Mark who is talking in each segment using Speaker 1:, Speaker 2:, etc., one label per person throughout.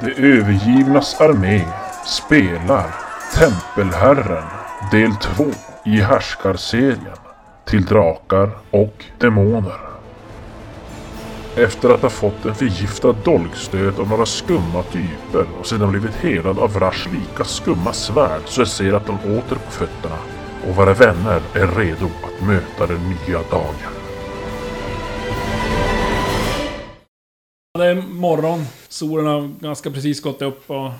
Speaker 1: De övergivnas armé spelar Tempelherren del 2 i härskarserien till drakar och demoner. Efter att ha fått en förgiftad dolkstöt av några skumma typer och sedan blivit helad av Rash lika skumma svärd så jag ser att de åter på fötterna och våra vänner är redo att möta den nya dagen.
Speaker 2: Ja, Det är morgon. Solen har ganska precis gått upp och...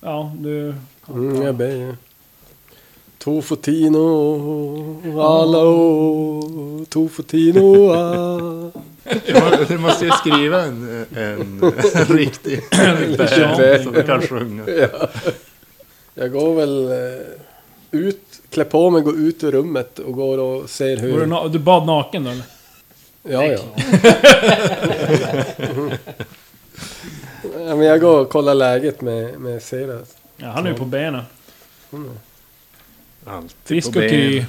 Speaker 2: Ja, du...
Speaker 3: Mm, jag ber ju. Tofotino, alla o, Tofotino, ah.
Speaker 4: Du må- Du måste ju skriva en, en, en riktig band som du kan sjunga.
Speaker 3: Jag går väl eh, ut, klär på mig, går ut ur rummet och går och ser hur...
Speaker 2: Var du, na- du bad naken då eller?
Speaker 3: Ja, ja. ja men jag går och kollar läget med, med Sera.
Speaker 2: Ja, han är ju på benen.
Speaker 4: Allt
Speaker 2: Frisk
Speaker 4: på
Speaker 2: och kry.
Speaker 4: benen.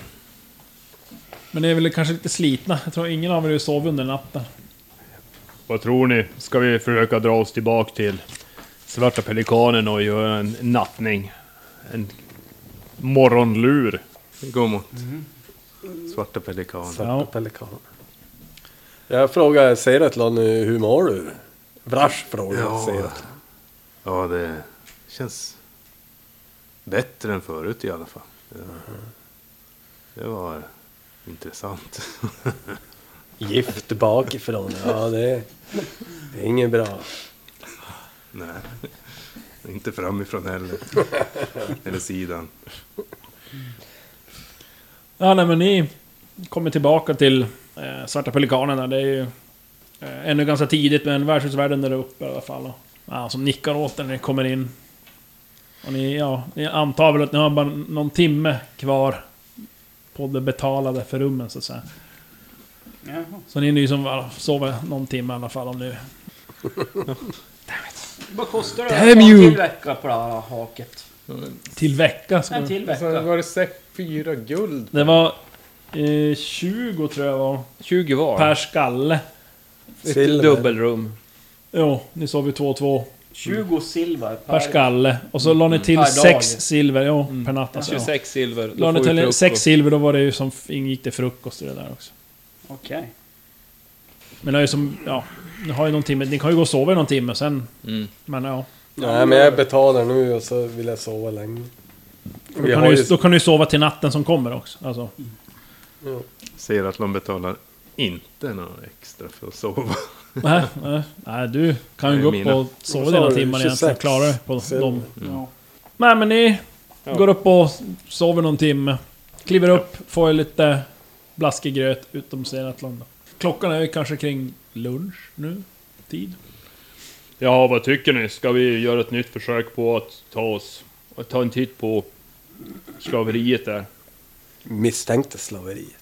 Speaker 2: Men det är väl kanske lite slitna. Jag tror ingen av er har sovit under natten.
Speaker 5: Vad tror ni? Ska vi försöka dra oss tillbaka till Svarta Pelikanen och göra en nattning? En morgonlur?
Speaker 4: Gå mot Svarta Pelikanen.
Speaker 2: Ja.
Speaker 3: Pelikan. Jag frågar Seratlon nu, hur mår du? Vrash frågar
Speaker 4: Ja.
Speaker 3: ja.
Speaker 4: Ja, det känns bättre än förut i alla fall. Det var, det var intressant.
Speaker 3: Gift bakifrån, ja det, det är inget bra.
Speaker 4: Nej, inte framifrån heller. Eller sidan.
Speaker 2: Ja, nej, men ni kommer tillbaka till eh, Svarta Pelikanerna. Det är ju eh, ännu ganska tidigt, men värdshusvärden är uppe i alla fall. Och, ja, som nickar åt er när ni kommer in. Och ni, ja, ni antar väl att ni har bara någon timme kvar på det betalade för rummen, så att säga. Så ni är ju som ja, sover någon timme i alla fall om ni...
Speaker 6: Vad kostar det
Speaker 2: Damn
Speaker 6: att ta en
Speaker 2: you!
Speaker 6: till vecka på det här haket? Alltså,
Speaker 2: Till vecka. Så
Speaker 6: En till
Speaker 7: Sen
Speaker 6: vecka.
Speaker 7: var det säkert fyra guld.
Speaker 2: Det var eh, 20 tror jag var,
Speaker 7: 20 var.
Speaker 2: per skalle.
Speaker 3: Silver.
Speaker 7: Ett dubbelrum.
Speaker 2: Jo, ni sov ju två och två.
Speaker 6: 20 silver
Speaker 2: Per skalle. Och så la ni till
Speaker 6: Per dag.
Speaker 2: sex silver, ja, per natt alltså. Ja.
Speaker 7: 26 silver. Då
Speaker 2: La ni
Speaker 7: får vi
Speaker 2: till
Speaker 7: frukost.
Speaker 2: sex silver, då var det ju som ingick det frukost i det där också.
Speaker 6: Okej.
Speaker 2: Men det är ju som, ja, ni har ju någon timme, ni kan ju gå och sova i någon timme sen.
Speaker 7: Mm.
Speaker 2: Men ja.
Speaker 3: Nej men jag betalar nu och så vill jag sova länge.
Speaker 2: Då
Speaker 3: Vi
Speaker 2: kan,
Speaker 3: har
Speaker 2: ni,
Speaker 3: ju...
Speaker 2: ju- då kan ni ju sova till natten som kommer också. Alltså,
Speaker 4: Ser att de betalar inte något extra för att sova.
Speaker 2: nej, nej, Äh, nej, du kan ju
Speaker 4: Nej,
Speaker 2: gå upp
Speaker 4: mina.
Speaker 2: och sova
Speaker 3: Vad sa
Speaker 2: dina
Speaker 3: du?
Speaker 2: timmar egentligen.
Speaker 3: 26
Speaker 2: Klarar det på
Speaker 3: silver.
Speaker 2: dem.
Speaker 4: Mm.
Speaker 2: Nej men ni går upp och sover någon timme. Kliver upp, får er lite blaskig gröt utom Senatland. Klockan är ju kanske kring lunch nu. Tid.
Speaker 5: Jaha, vad tycker ni? Ska vi göra ett nytt försök på att ta oss... Att ta en titt på slaveriet där?
Speaker 3: misstänkte slaveriet.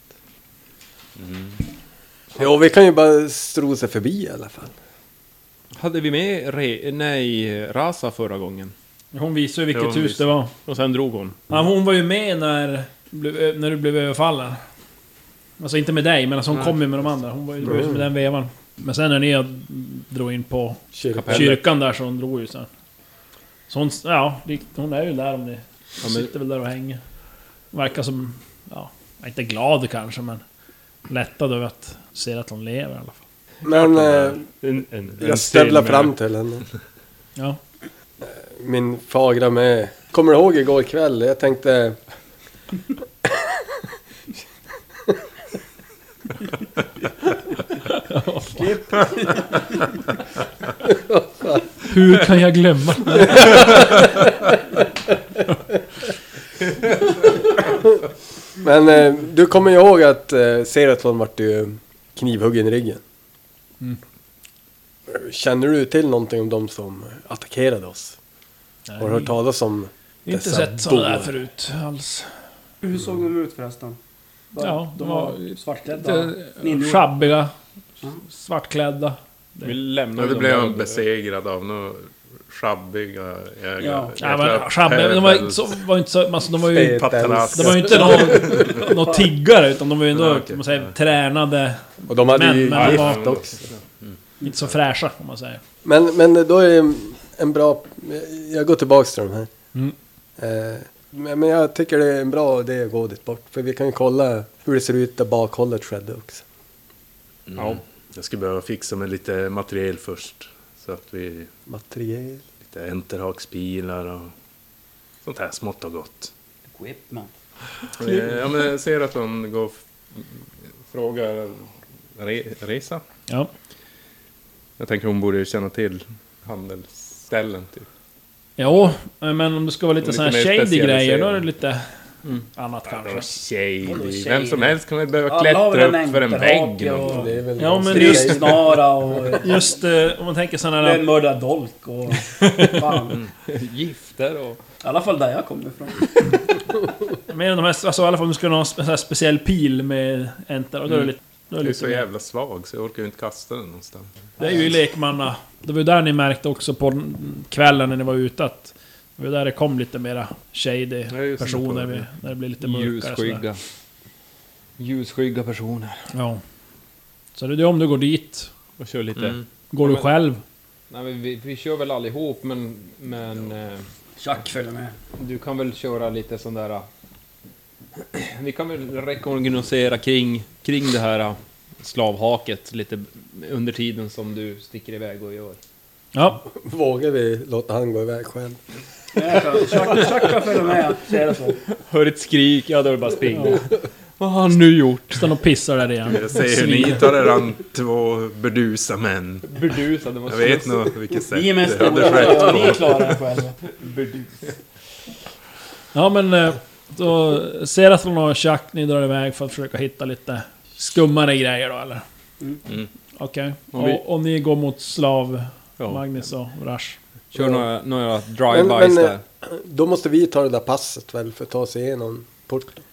Speaker 5: Mm.
Speaker 3: Jo, vi kan ju bara strosa förbi i alla fall.
Speaker 7: Hade vi med Re... Nej, Rasa förra gången?
Speaker 2: Hon visade ju
Speaker 4: Ja,
Speaker 2: vilket
Speaker 4: hon
Speaker 2: hus
Speaker 4: visar.
Speaker 2: det var.
Speaker 5: Och sen drog hon.
Speaker 2: Ja, hon var ju med när, blev- när du blev överfallen. Alltså inte med dig, men alltså hon kom ju med de andra. Hon var ju mm. med den vevan. Men sen när ni drog in på
Speaker 3: Kyrkan.
Speaker 2: kyrkan där så hon drog ju sen. Så hon, ja, rikt- hon är ju där om ni
Speaker 7: Ja, men-
Speaker 2: sitter väl där och hänger. Verkar som, ja, inte glad kanske men lättad över att se att hon lever i alla fall.
Speaker 3: Men eh,
Speaker 5: En, en, en
Speaker 3: jag stövlar
Speaker 5: till med-
Speaker 3: fram till henne.
Speaker 2: Ja.
Speaker 3: Min fagra med. Kommer du ihåg igår kväll? Jag tänkte...
Speaker 2: Hur kan jag glömma?
Speaker 3: Men eh, du kommer ju ihåg att eh, Seratlon vart ju knivhuggen i ryggen.
Speaker 2: Mm.
Speaker 3: Känner du till någonting om de som attackerade oss? Har du hört talas om
Speaker 2: inte
Speaker 3: dessa
Speaker 2: sett sådana där
Speaker 3: bår?
Speaker 2: förut alls.
Speaker 6: Hur såg de ut förresten?
Speaker 2: Ja,
Speaker 6: de
Speaker 2: de var
Speaker 6: var svartklädda.
Speaker 2: Lite
Speaker 6: Ninjor.
Speaker 2: Sjabbiga, svartklädda.
Speaker 7: Vi
Speaker 4: Ja,
Speaker 7: lämnade
Speaker 4: det
Speaker 7: dem
Speaker 4: blev
Speaker 7: där
Speaker 4: han
Speaker 7: och-
Speaker 4: besegrad av några sjabbiga jägare.
Speaker 6: Ja.
Speaker 2: Ja, men, sjabbiga, de var inte så... Var inte så alltså, de var ju,
Speaker 4: Patrask.
Speaker 2: de var ju inte någon, någon tiggare, utan de var ju ändå
Speaker 4: Nej, okej.
Speaker 2: man säger, tränade,
Speaker 3: Och de hade
Speaker 2: Men-
Speaker 3: ju
Speaker 2: men de
Speaker 3: gift
Speaker 2: var-
Speaker 3: också.
Speaker 2: inte så fräscha om man säger.
Speaker 3: Men, men då är det en bra... Jag går tillbaks till de här.
Speaker 2: Mm.
Speaker 3: Eh, men men jag tycker det är en bra idé att gå dit bort. För vi kan ju kolla hur det ser ut där bakhållet skedde också.
Speaker 4: Ja. Jag skulle behöva fixa med lite materiel först. Så att vi...
Speaker 3: Materiel.
Speaker 4: Lite enterhaksbilar och sånt här smått och gott.
Speaker 6: Equipment.
Speaker 4: Eh, Ja, men jag ser att de går och f- frågar re, Resa.
Speaker 2: Ja.
Speaker 4: Jag tänker hon borde känna till handelsställen typ.
Speaker 2: Jo, men om det ska vara lite,
Speaker 4: Lite
Speaker 2: såna här
Speaker 4: mer
Speaker 2: shady grejer, då är det
Speaker 4: specialiserad.
Speaker 2: lite annat kanske.
Speaker 6: Vadå
Speaker 4: Shady.
Speaker 6: shady?
Speaker 4: Vem som helst kan väl behöva
Speaker 6: Alla har
Speaker 4: klättra
Speaker 6: väl
Speaker 4: upp
Speaker 6: en
Speaker 4: för en
Speaker 6: enterhake
Speaker 4: vägg.
Speaker 6: och-
Speaker 4: någon-
Speaker 3: Det är väl
Speaker 2: Ja, men just-
Speaker 6: Stridsnara och...
Speaker 2: Just eh, om man tänker såna där...
Speaker 6: Lönnmördad dolk och...
Speaker 2: Mm.
Speaker 6: Fan.
Speaker 7: Gifter och...
Speaker 6: I alla fall där jag kommer ifrån.
Speaker 2: Mer än de här, alltså, i alla fall om du skulle ha en spe- så här speciell pil med enter, och då är det lite... Då är det,
Speaker 4: Jag Mm. är
Speaker 2: lite
Speaker 4: så
Speaker 2: mer.
Speaker 4: jävla svag så jag orkar ju inte kasta den någonstans.
Speaker 2: det är ju lekmanna... Det var ju där ni märkte också på den- kvällen när ni var ute att... Det var ju där det kom lite mera shady
Speaker 4: Ja, just det.
Speaker 2: personer, med, när det blev lite mörkare sådär.
Speaker 7: Ljusskygga. Ljusskygga personer.
Speaker 2: Ja. Så det är det om du går dit.
Speaker 7: Och kör lite...
Speaker 4: Mm.
Speaker 2: Går du
Speaker 7: men-
Speaker 2: själv?
Speaker 7: Nej, men vi, vi kör väl allihop, men... men eh,
Speaker 6: Chuck följer med.
Speaker 7: du kan väl köra lite sån där... eh, Vi kan väl rekognosera kring, kring det här eh, slavhaket lite under tiden som du sticker iväg och gör.
Speaker 2: Ja.
Speaker 3: Vågar vi låta han gå iväg själv?
Speaker 6: Nej, Chuck, Chuck kan följa med, säger jag så.
Speaker 7: Hör ett skrik, ja då är det bara springa. Vad har han nu gjort?
Speaker 2: Står och pissar där igen.
Speaker 4: Jag ser hur ni tar er an två burdusa män.
Speaker 7: Burdusad, det var
Speaker 4: Jag vet nog vilket sätt
Speaker 6: Vi är mest
Speaker 4: det hade
Speaker 6: stora,
Speaker 4: skett
Speaker 6: ja, vi
Speaker 4: på.
Speaker 6: klarar det själva.
Speaker 2: Ja men eh, då ser att hon och Chuck, ni drar iväg för att försöka hitta lite skummare grejer då eller?
Speaker 4: Mm.
Speaker 2: Okej.
Speaker 7: Om vi-
Speaker 2: Och, och ni går mot Slav,
Speaker 7: Ja.
Speaker 2: Magnus och Rush.
Speaker 7: Kör några, några
Speaker 3: Men- men,
Speaker 7: drive-bys
Speaker 3: eh,
Speaker 7: där.
Speaker 3: Då måste vi ta det där passet väl för att ta sig igenom porten.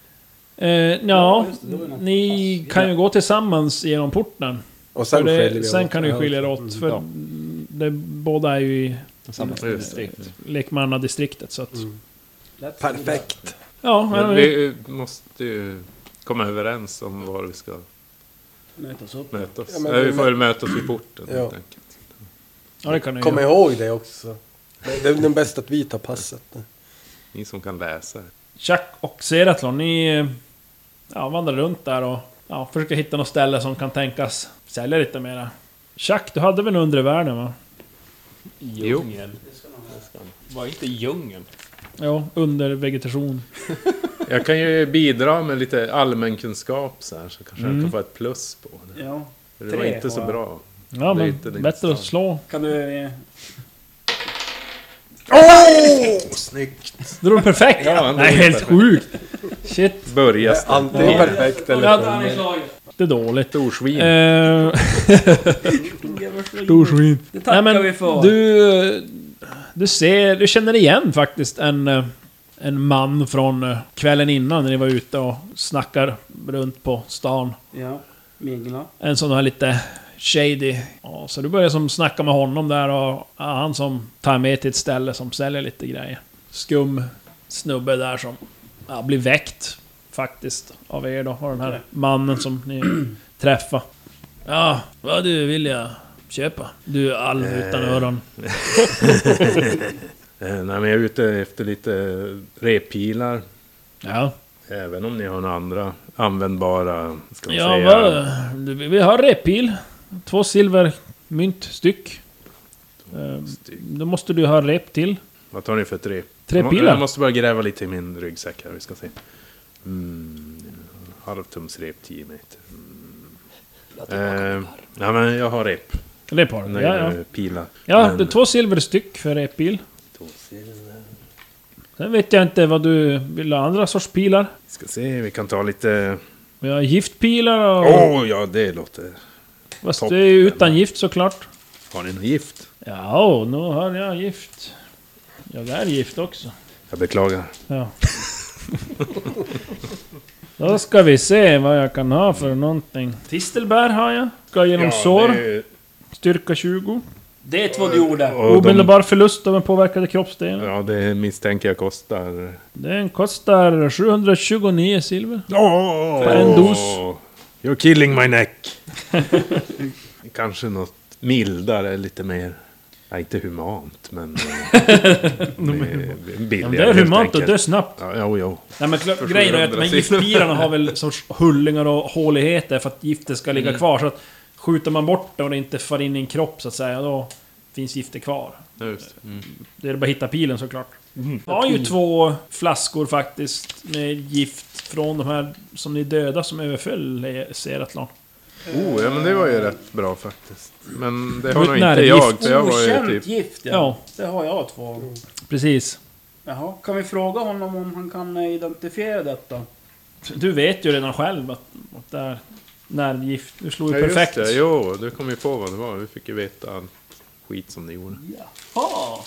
Speaker 2: Eh, ja,
Speaker 6: just det, då är det något
Speaker 2: ni kan ju gå tillsammans genom porten.
Speaker 3: Och sen
Speaker 2: Sen,
Speaker 3: skiljer
Speaker 2: det,
Speaker 3: vi
Speaker 2: sen
Speaker 3: åt.
Speaker 2: kan ni
Speaker 3: Ja.
Speaker 2: skilja er
Speaker 6: Mm.
Speaker 2: åt. För
Speaker 7: Ja.
Speaker 2: det, båda är ju i
Speaker 7: Samma
Speaker 4: Just det.
Speaker 7: distrikt.
Speaker 2: lekmannadistriktet. Så att,
Speaker 6: Mm. Let's
Speaker 3: Perfekt.
Speaker 2: ja, men,
Speaker 4: Men vi eh, måste ju komma överens om var vi ska
Speaker 6: Mötas upp.
Speaker 4: möta oss.
Speaker 3: Ja, men
Speaker 4: Eh,
Speaker 3: vi
Speaker 4: vi får
Speaker 3: mö-
Speaker 4: väl mötas vid porten
Speaker 3: Ja.
Speaker 4: helt enkelt.
Speaker 2: ja, det kan ni
Speaker 3: Kom
Speaker 2: göra.
Speaker 3: ihåg det också. Det det är den bästa att vi tar passet.
Speaker 4: Ni som kan läsa.
Speaker 2: Chuck och Seratlon, ni eh, ja, vandrar runt där och ja, försöker hitta något ställe som kan tänkas sälja lite mera. Chuck, du hade väl en undre världen va?
Speaker 7: Djungel. Var inte djungeln.
Speaker 2: Jo, under vegetation.
Speaker 4: Jag kan ju bidra med lite allmän kunskap så här så kanske
Speaker 2: Mm.
Speaker 4: jag kan få ett plus på det.
Speaker 6: Ja.
Speaker 4: För det var
Speaker 6: Tre
Speaker 4: inte så
Speaker 6: har jag.
Speaker 4: bra.
Speaker 2: Ja,
Speaker 4: Det är
Speaker 2: men
Speaker 4: inte det
Speaker 2: bättre att
Speaker 4: intressanta.
Speaker 2: slå.
Speaker 6: Kan du... eh,
Speaker 4: Snyggt!
Speaker 2: Det var perfekt!
Speaker 4: Ja, det
Speaker 2: Nej,
Speaker 4: var
Speaker 2: helt
Speaker 4: perfekt.
Speaker 2: sjukt! Shit,
Speaker 4: Börja
Speaker 3: Antingen
Speaker 2: Ja.
Speaker 3: perfekt eller...
Speaker 2: det är dåligt.
Speaker 4: Storsvin.
Speaker 2: Eh, Storsvin.
Speaker 6: Det tackar
Speaker 2: Nej men
Speaker 6: vi för.
Speaker 2: du... eh, Du ser, du känner igen faktiskt en... eh, En man från eh, kvällen innan när ni var ute och snackar runt på stan.
Speaker 6: Ja. Mingla.
Speaker 2: En sån här lite shady. Ja, så du börjar som snacka med honom där och ja, han som tar med till ett ställe som säljer lite grejer. Skum snubbe där som ja, blir väckt faktiskt av er då, av den här
Speaker 6: Okej.
Speaker 2: mannen som ni träffar. Ja, vad du vill jag köpa? Du är alv utan öron.
Speaker 4: Eh, nej, men jag är ute efter lite repilar.
Speaker 2: Ja,
Speaker 4: Även om ni har några andra användbara, ska man
Speaker 2: ja
Speaker 4: säga.
Speaker 2: vad, du, vi har repil. Två silvermynt styck. Ehm,
Speaker 4: styck.
Speaker 2: Då måste du ha rep till.
Speaker 4: Vad tar ni för tre?
Speaker 2: Tre
Speaker 4: Jag må-
Speaker 2: pilar?
Speaker 4: Jag måste bara gräva lite i min ryggsäck här, vi ska se. Mm, halvtumsrep, 10 meter. Mm. Eh, ja, men jag har rep.
Speaker 2: Rep har du.
Speaker 4: Nej,
Speaker 2: Ja, ja.
Speaker 4: eh, pilar.
Speaker 2: Ja,
Speaker 4: Men-
Speaker 2: det är två silver styck för repbil. Sen vet jag inte vad du vill ha andra sorts pilar.
Speaker 4: Vi ska se, vi kan ta lite...
Speaker 2: Vi har giftpilar och...
Speaker 4: Åh, ja det låter...
Speaker 2: fast
Speaker 4: topp.
Speaker 2: det är ju utan gift såklart.
Speaker 4: Har ni något gift?
Speaker 2: Ja, nu har jag gift. Jag är gift också.
Speaker 4: Jag beklagar.
Speaker 2: Ja. Då ska vi se vad jag kan ha för någonting. Tistelbär har jag. Ska genom sår. Styrka 20.
Speaker 6: Det är vad du gjorde.
Speaker 4: Och de,
Speaker 2: Omedelbar förlust av en påverkade kroppsdel.
Speaker 4: ja, det misstänker jag kostar...
Speaker 2: Den kostar 729 silver.
Speaker 4: Oh,
Speaker 2: För en dos.
Speaker 4: You're killing my neck. Kanske något mildare, lite mer... Ja, inte humant, men... eh, eh,
Speaker 2: Ja,
Speaker 4: billigare,
Speaker 2: men det är
Speaker 4: helt
Speaker 2: humant och
Speaker 4: enkelt.
Speaker 2: dö snabbt.
Speaker 4: Ja, jo, jo.
Speaker 2: Nej, men kla- grejen är att de här giftbilarna har väl sorts hullingar och håligheter för att giftet ska
Speaker 4: Mm.
Speaker 2: ligga kvar. Så att skjuter man bort det och det inte far in i en kropp så att säga, då finns giftet kvar.
Speaker 4: Mm.
Speaker 2: Det är bara att hitta pilen såklart. Jag har ju två flaskor faktiskt med gift från de här som ni döda som överföll Seratlon.
Speaker 4: Oh, ja men det var ju rätt bra faktiskt. Men
Speaker 2: var
Speaker 4: det har
Speaker 2: ett
Speaker 4: nog inte
Speaker 2: nervgift.
Speaker 4: jag, för jag var ju
Speaker 6: Okänt
Speaker 4: typ...
Speaker 6: gift ja.
Speaker 2: Ja.
Speaker 6: Det har jag två av.
Speaker 2: Precis.
Speaker 6: Jaha, kan vi fråga honom om han kan eh, identifiera detta?
Speaker 2: Du vet ju redan själv att, att det är nervgift. Du slog ju
Speaker 4: Ja, just
Speaker 2: perfekt.
Speaker 4: Det, jo, du kom ju på vad det var. Vi fick ju veta all skit som ni gjorde.
Speaker 6: Ja.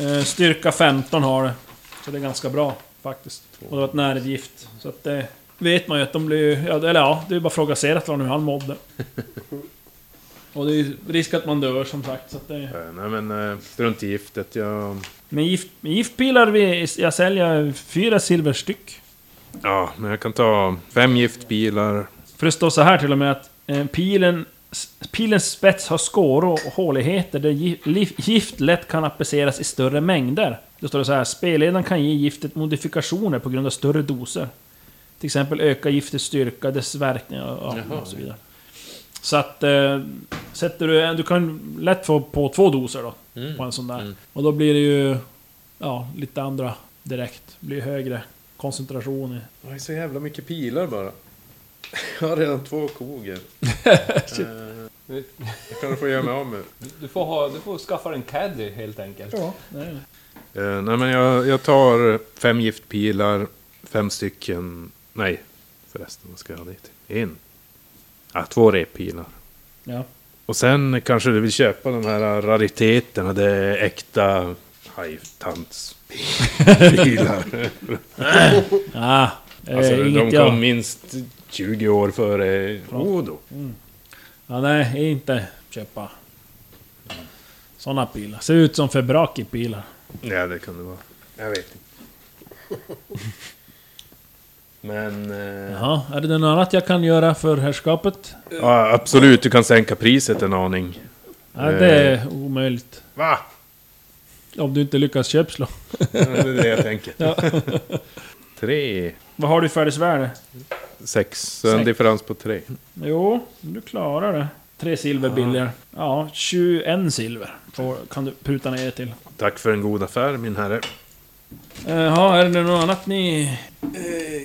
Speaker 2: Eh, Styrka 15 har det. Så det är ganska bra faktiskt. Och det var ett nervgift. Så att det vet man ju att de blir ju- ja, Eller ja, det är bara att fråga Seratlon hur han mådde. Och det är ju risk att man dör som sagt. Så att det...
Speaker 4: Eh, nej men eh, strunt i giftet. Jag...
Speaker 2: Men gift, men giftpilar, vi, jag säljer fyra silver styck.
Speaker 4: Ja, men jag kan ta fem giftbilar.
Speaker 2: För det står så här till och med att eh, pilen, s- pilens spets har skåror och håligheter där gi- lif- gift lätt kan appliceras i större mängder. Då står det så här, spelledaren kan ge giftet modifikationer på grund av större doser. Till exempel öka giftets styrka, dess verkningar och, ja, och så vidare. Så att... Eh, sätter du en... Du kan lätt få på två doser då. På en sån där. Och då blir det ju... Ja, lite andra direkt. Blir högre koncentration i...
Speaker 4: Jag har så jävla mycket pilar bara. Jag har redan två koger. jag kan få göra mig av med.
Speaker 7: Du får, ha, du får skaffa en caddy helt enkelt.
Speaker 2: Nej.
Speaker 4: Eh, nej men jag, jag tar fem giftpilar, fem stycken... Nej, förresten vad ska jag ha det till? En. Ja, två reppilar.
Speaker 2: Ja.
Speaker 4: Och sen kanske du vill köpa de här rariteterna, det är äkta hajtantspilar.
Speaker 2: Ah, eh,
Speaker 4: alltså, de
Speaker 2: inget
Speaker 4: kom
Speaker 2: jag...
Speaker 4: minst 20 år före Odo.
Speaker 2: Ja, nej, inte köpa såna pilar. Ser ut som Febraki-pilar.
Speaker 4: Ja, det kan det vara. Jag vet inte. Men... Eh,
Speaker 2: Jaha, är det något annat jag kan göra för herrskapet?
Speaker 4: ja, absolut, du kan sänka priset en aning.
Speaker 2: Nej, det är omöjligt.
Speaker 4: Va?
Speaker 2: Om du inte lyckas köpslå.
Speaker 4: Ja, det är det jag tänker. tre,
Speaker 2: Vad har du i färdigsvärde?
Speaker 4: sex, så en
Speaker 2: Sex.
Speaker 4: differens på tre.
Speaker 2: Jo, du klarar det. Tre silver billigare. Ja, 21 silver får, kan du pruta ner det till.
Speaker 4: Tack för en god affär min herre.
Speaker 2: Eh, Jaha, är det något annat ni...
Speaker 6: Eh,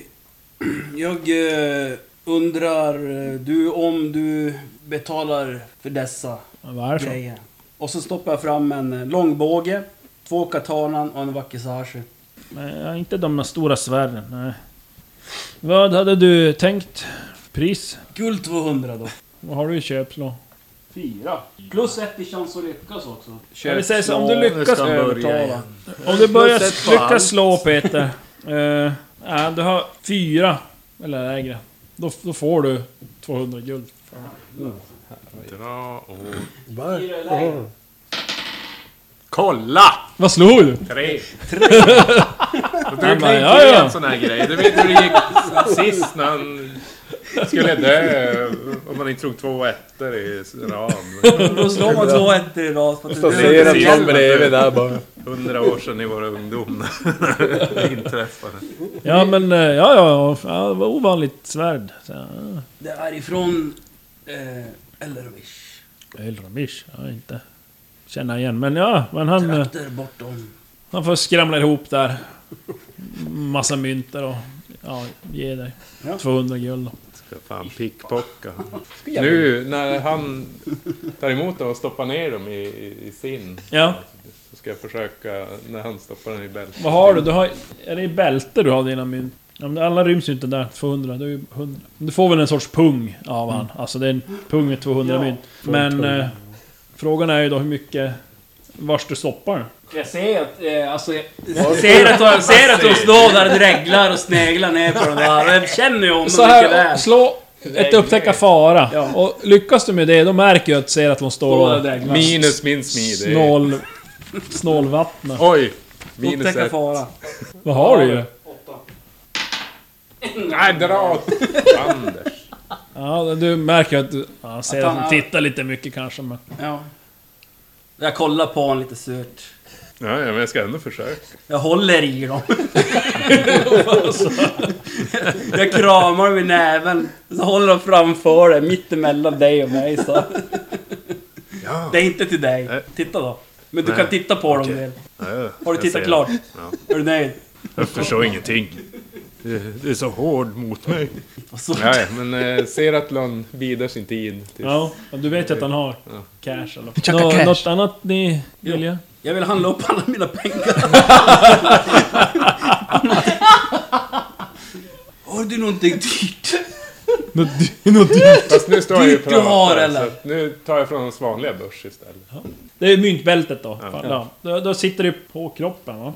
Speaker 6: Jag eh, undrar eh, du om du betalar för dessa
Speaker 2: Varför?
Speaker 6: grejer. Och så stoppar jag fram en eh, långbåge, två katanan och en wakizashi.
Speaker 2: Nej, inte de där stora svärden, nej. Vad hade du tänkt? Pris?
Speaker 6: Guld 200 då.
Speaker 2: Vad har du i köpslå?
Speaker 6: Fyra. Plus ett i chans att lyckas också.
Speaker 2: Ja, vi säger så, om du lyckas Eh,
Speaker 6: Övertala.
Speaker 2: Om du börjar
Speaker 6: Plus ett på allt.
Speaker 2: lyckas slå Peter. eh, nej, du har fyra eller lägre. Då, då får du 200 guld.
Speaker 4: Dra och...
Speaker 8: Kolla!
Speaker 2: Vad slog du?
Speaker 8: Tre.
Speaker 2: Han bara,
Speaker 8: Det
Speaker 2: ja,
Speaker 8: är en
Speaker 2: ja.
Speaker 8: sån här grej. Du vet hur det gick sist när han
Speaker 4: Skulle dö om man inte tog två ettor i ram.
Speaker 6: Då slår man två ettor i rad. för att det-
Speaker 4: Placerat
Speaker 8: någon
Speaker 4: bredvid där bara. Hundra år sedan i våra ungdom det inträffade.
Speaker 2: Ja men eh, ja ja, ja det var ovanligt svärd. Så, ja.
Speaker 6: Det är ifrån... Eh, Elrovish.
Speaker 2: Elramish, ja inte känna igen. Men ja, men han, eh,
Speaker 6: Trakter bortom.
Speaker 2: han får skramla ihop där. Massa mynter och ja, ge dig 200 guld då.
Speaker 4: Ska fan pickpocka. Nu när han tar emot dem och stoppar ner dem i, i sin.
Speaker 2: Ja,
Speaker 4: Så ska jag försöka när han stoppar den i bältet.
Speaker 2: vad har du? du har, är det i bälte du har dina mynt? Ja, men alla ryms ju inte där, 200. Det är ju 100. Men Du får väl en sorts pung av han. Alltså det är en pung med 200 mynt. Men eh, frågan är ju då hur mycket... Vars du stoppar
Speaker 6: Jag ser att... Eh, alltså, jag jag ser att, de, ser att de står där och dreglar och sneglar ner på den där. Jag känner ju om dem
Speaker 2: Så
Speaker 6: mycket
Speaker 2: här,
Speaker 6: väl.
Speaker 2: slå ett upptäcka fara. Och lyckas du med det, då märker jag att ser att de står och
Speaker 4: Minus min smid. det är-
Speaker 2: snål... Snålvattna.
Speaker 4: Oj! Minus
Speaker 6: Upptäcka
Speaker 4: ett.
Speaker 6: fara.
Speaker 2: Vad har du ju?
Speaker 4: Nej, dra åt Anders.
Speaker 2: Ja, du märker att du... Ja, ser
Speaker 6: Att
Speaker 2: att
Speaker 6: han
Speaker 2: de
Speaker 6: har-
Speaker 2: tittar lite mycket kanske men...
Speaker 6: Ja. Jag kollar på honom lite surt.
Speaker 8: Ja, ja, men jag ska ändå försöka.
Speaker 6: Jag håller i dem. jag kramar dem i näven. Så håller de framför dig, mittemellan dig och mig. Så.
Speaker 4: Ja.
Speaker 6: Det är inte till dig.
Speaker 4: Nej.
Speaker 6: titta då. Men du
Speaker 4: Nej.
Speaker 6: kan titta på dem
Speaker 4: Okej.
Speaker 6: väl.
Speaker 4: Ja, ja,
Speaker 6: Har du
Speaker 4: jag ser
Speaker 6: tittat
Speaker 4: det.
Speaker 6: klart?
Speaker 4: Ja.
Speaker 6: Är du nöjd?
Speaker 4: Jag förstår ingenting. Du, du är så hård mot mig.
Speaker 6: Och så-
Speaker 8: Ja, ja, men eh, ser att Lund bidar sin tid. Typ.
Speaker 2: Ja, och du vet ju att han har cash eller något.
Speaker 7: Chaka cash.
Speaker 2: Något annat ni vill ja.
Speaker 6: Jag vill handla upp alla mina pengar. Har du någonting dyrt?
Speaker 8: Fast nu står jag ju
Speaker 6: Dyrt
Speaker 8: på
Speaker 6: du
Speaker 8: rabatten,
Speaker 6: har,
Speaker 8: så
Speaker 6: eller?
Speaker 8: att Nu tar jag från hans vanliga börs istället.
Speaker 2: Det är myntbältet då. Fan, Ja. Mm. Då, då sitter det på kroppen va?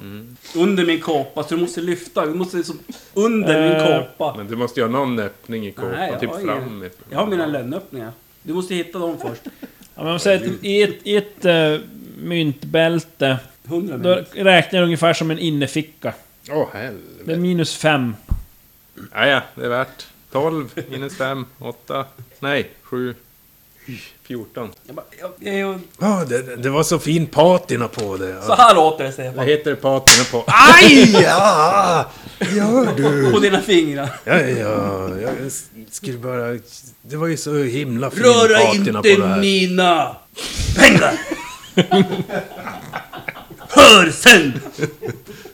Speaker 6: Under min kåpa, så du måste lyfta. Du måste liksom under min
Speaker 2: Eh,
Speaker 6: kåpa.
Speaker 8: Men du måste ju ha någon öppning i
Speaker 6: Nej,
Speaker 8: kåpan,
Speaker 6: jag
Speaker 8: typ
Speaker 6: har
Speaker 8: fram.
Speaker 6: Jag har mina lönnöppningar. Du måste hitta dem först.
Speaker 2: Ja, men om säger att i ett, i ett eh, myntbälte,
Speaker 6: 100
Speaker 2: då
Speaker 6: minuter.
Speaker 2: räknar jag ungefär som en inneficka.
Speaker 8: Åh,
Speaker 2: Det är
Speaker 8: helvete.
Speaker 2: minus fem.
Speaker 8: Ja, ja, det är värt. 12 minus 5, 8, nej, 7, 14.
Speaker 6: Jag bara, jag, jag, jag,
Speaker 4: Ja, det, det var så fin patina på det.
Speaker 6: så här åt det säger
Speaker 8: Vad
Speaker 6: jag
Speaker 8: heter det patina på?
Speaker 4: Aj! Ja! Gör du?
Speaker 6: På dina fingrar.
Speaker 4: Ja, ja, jag skulle bara... Det var ju så himla fin
Speaker 6: Röra
Speaker 4: patina på det
Speaker 6: inte
Speaker 4: här.
Speaker 6: mina pengar! Hör sen!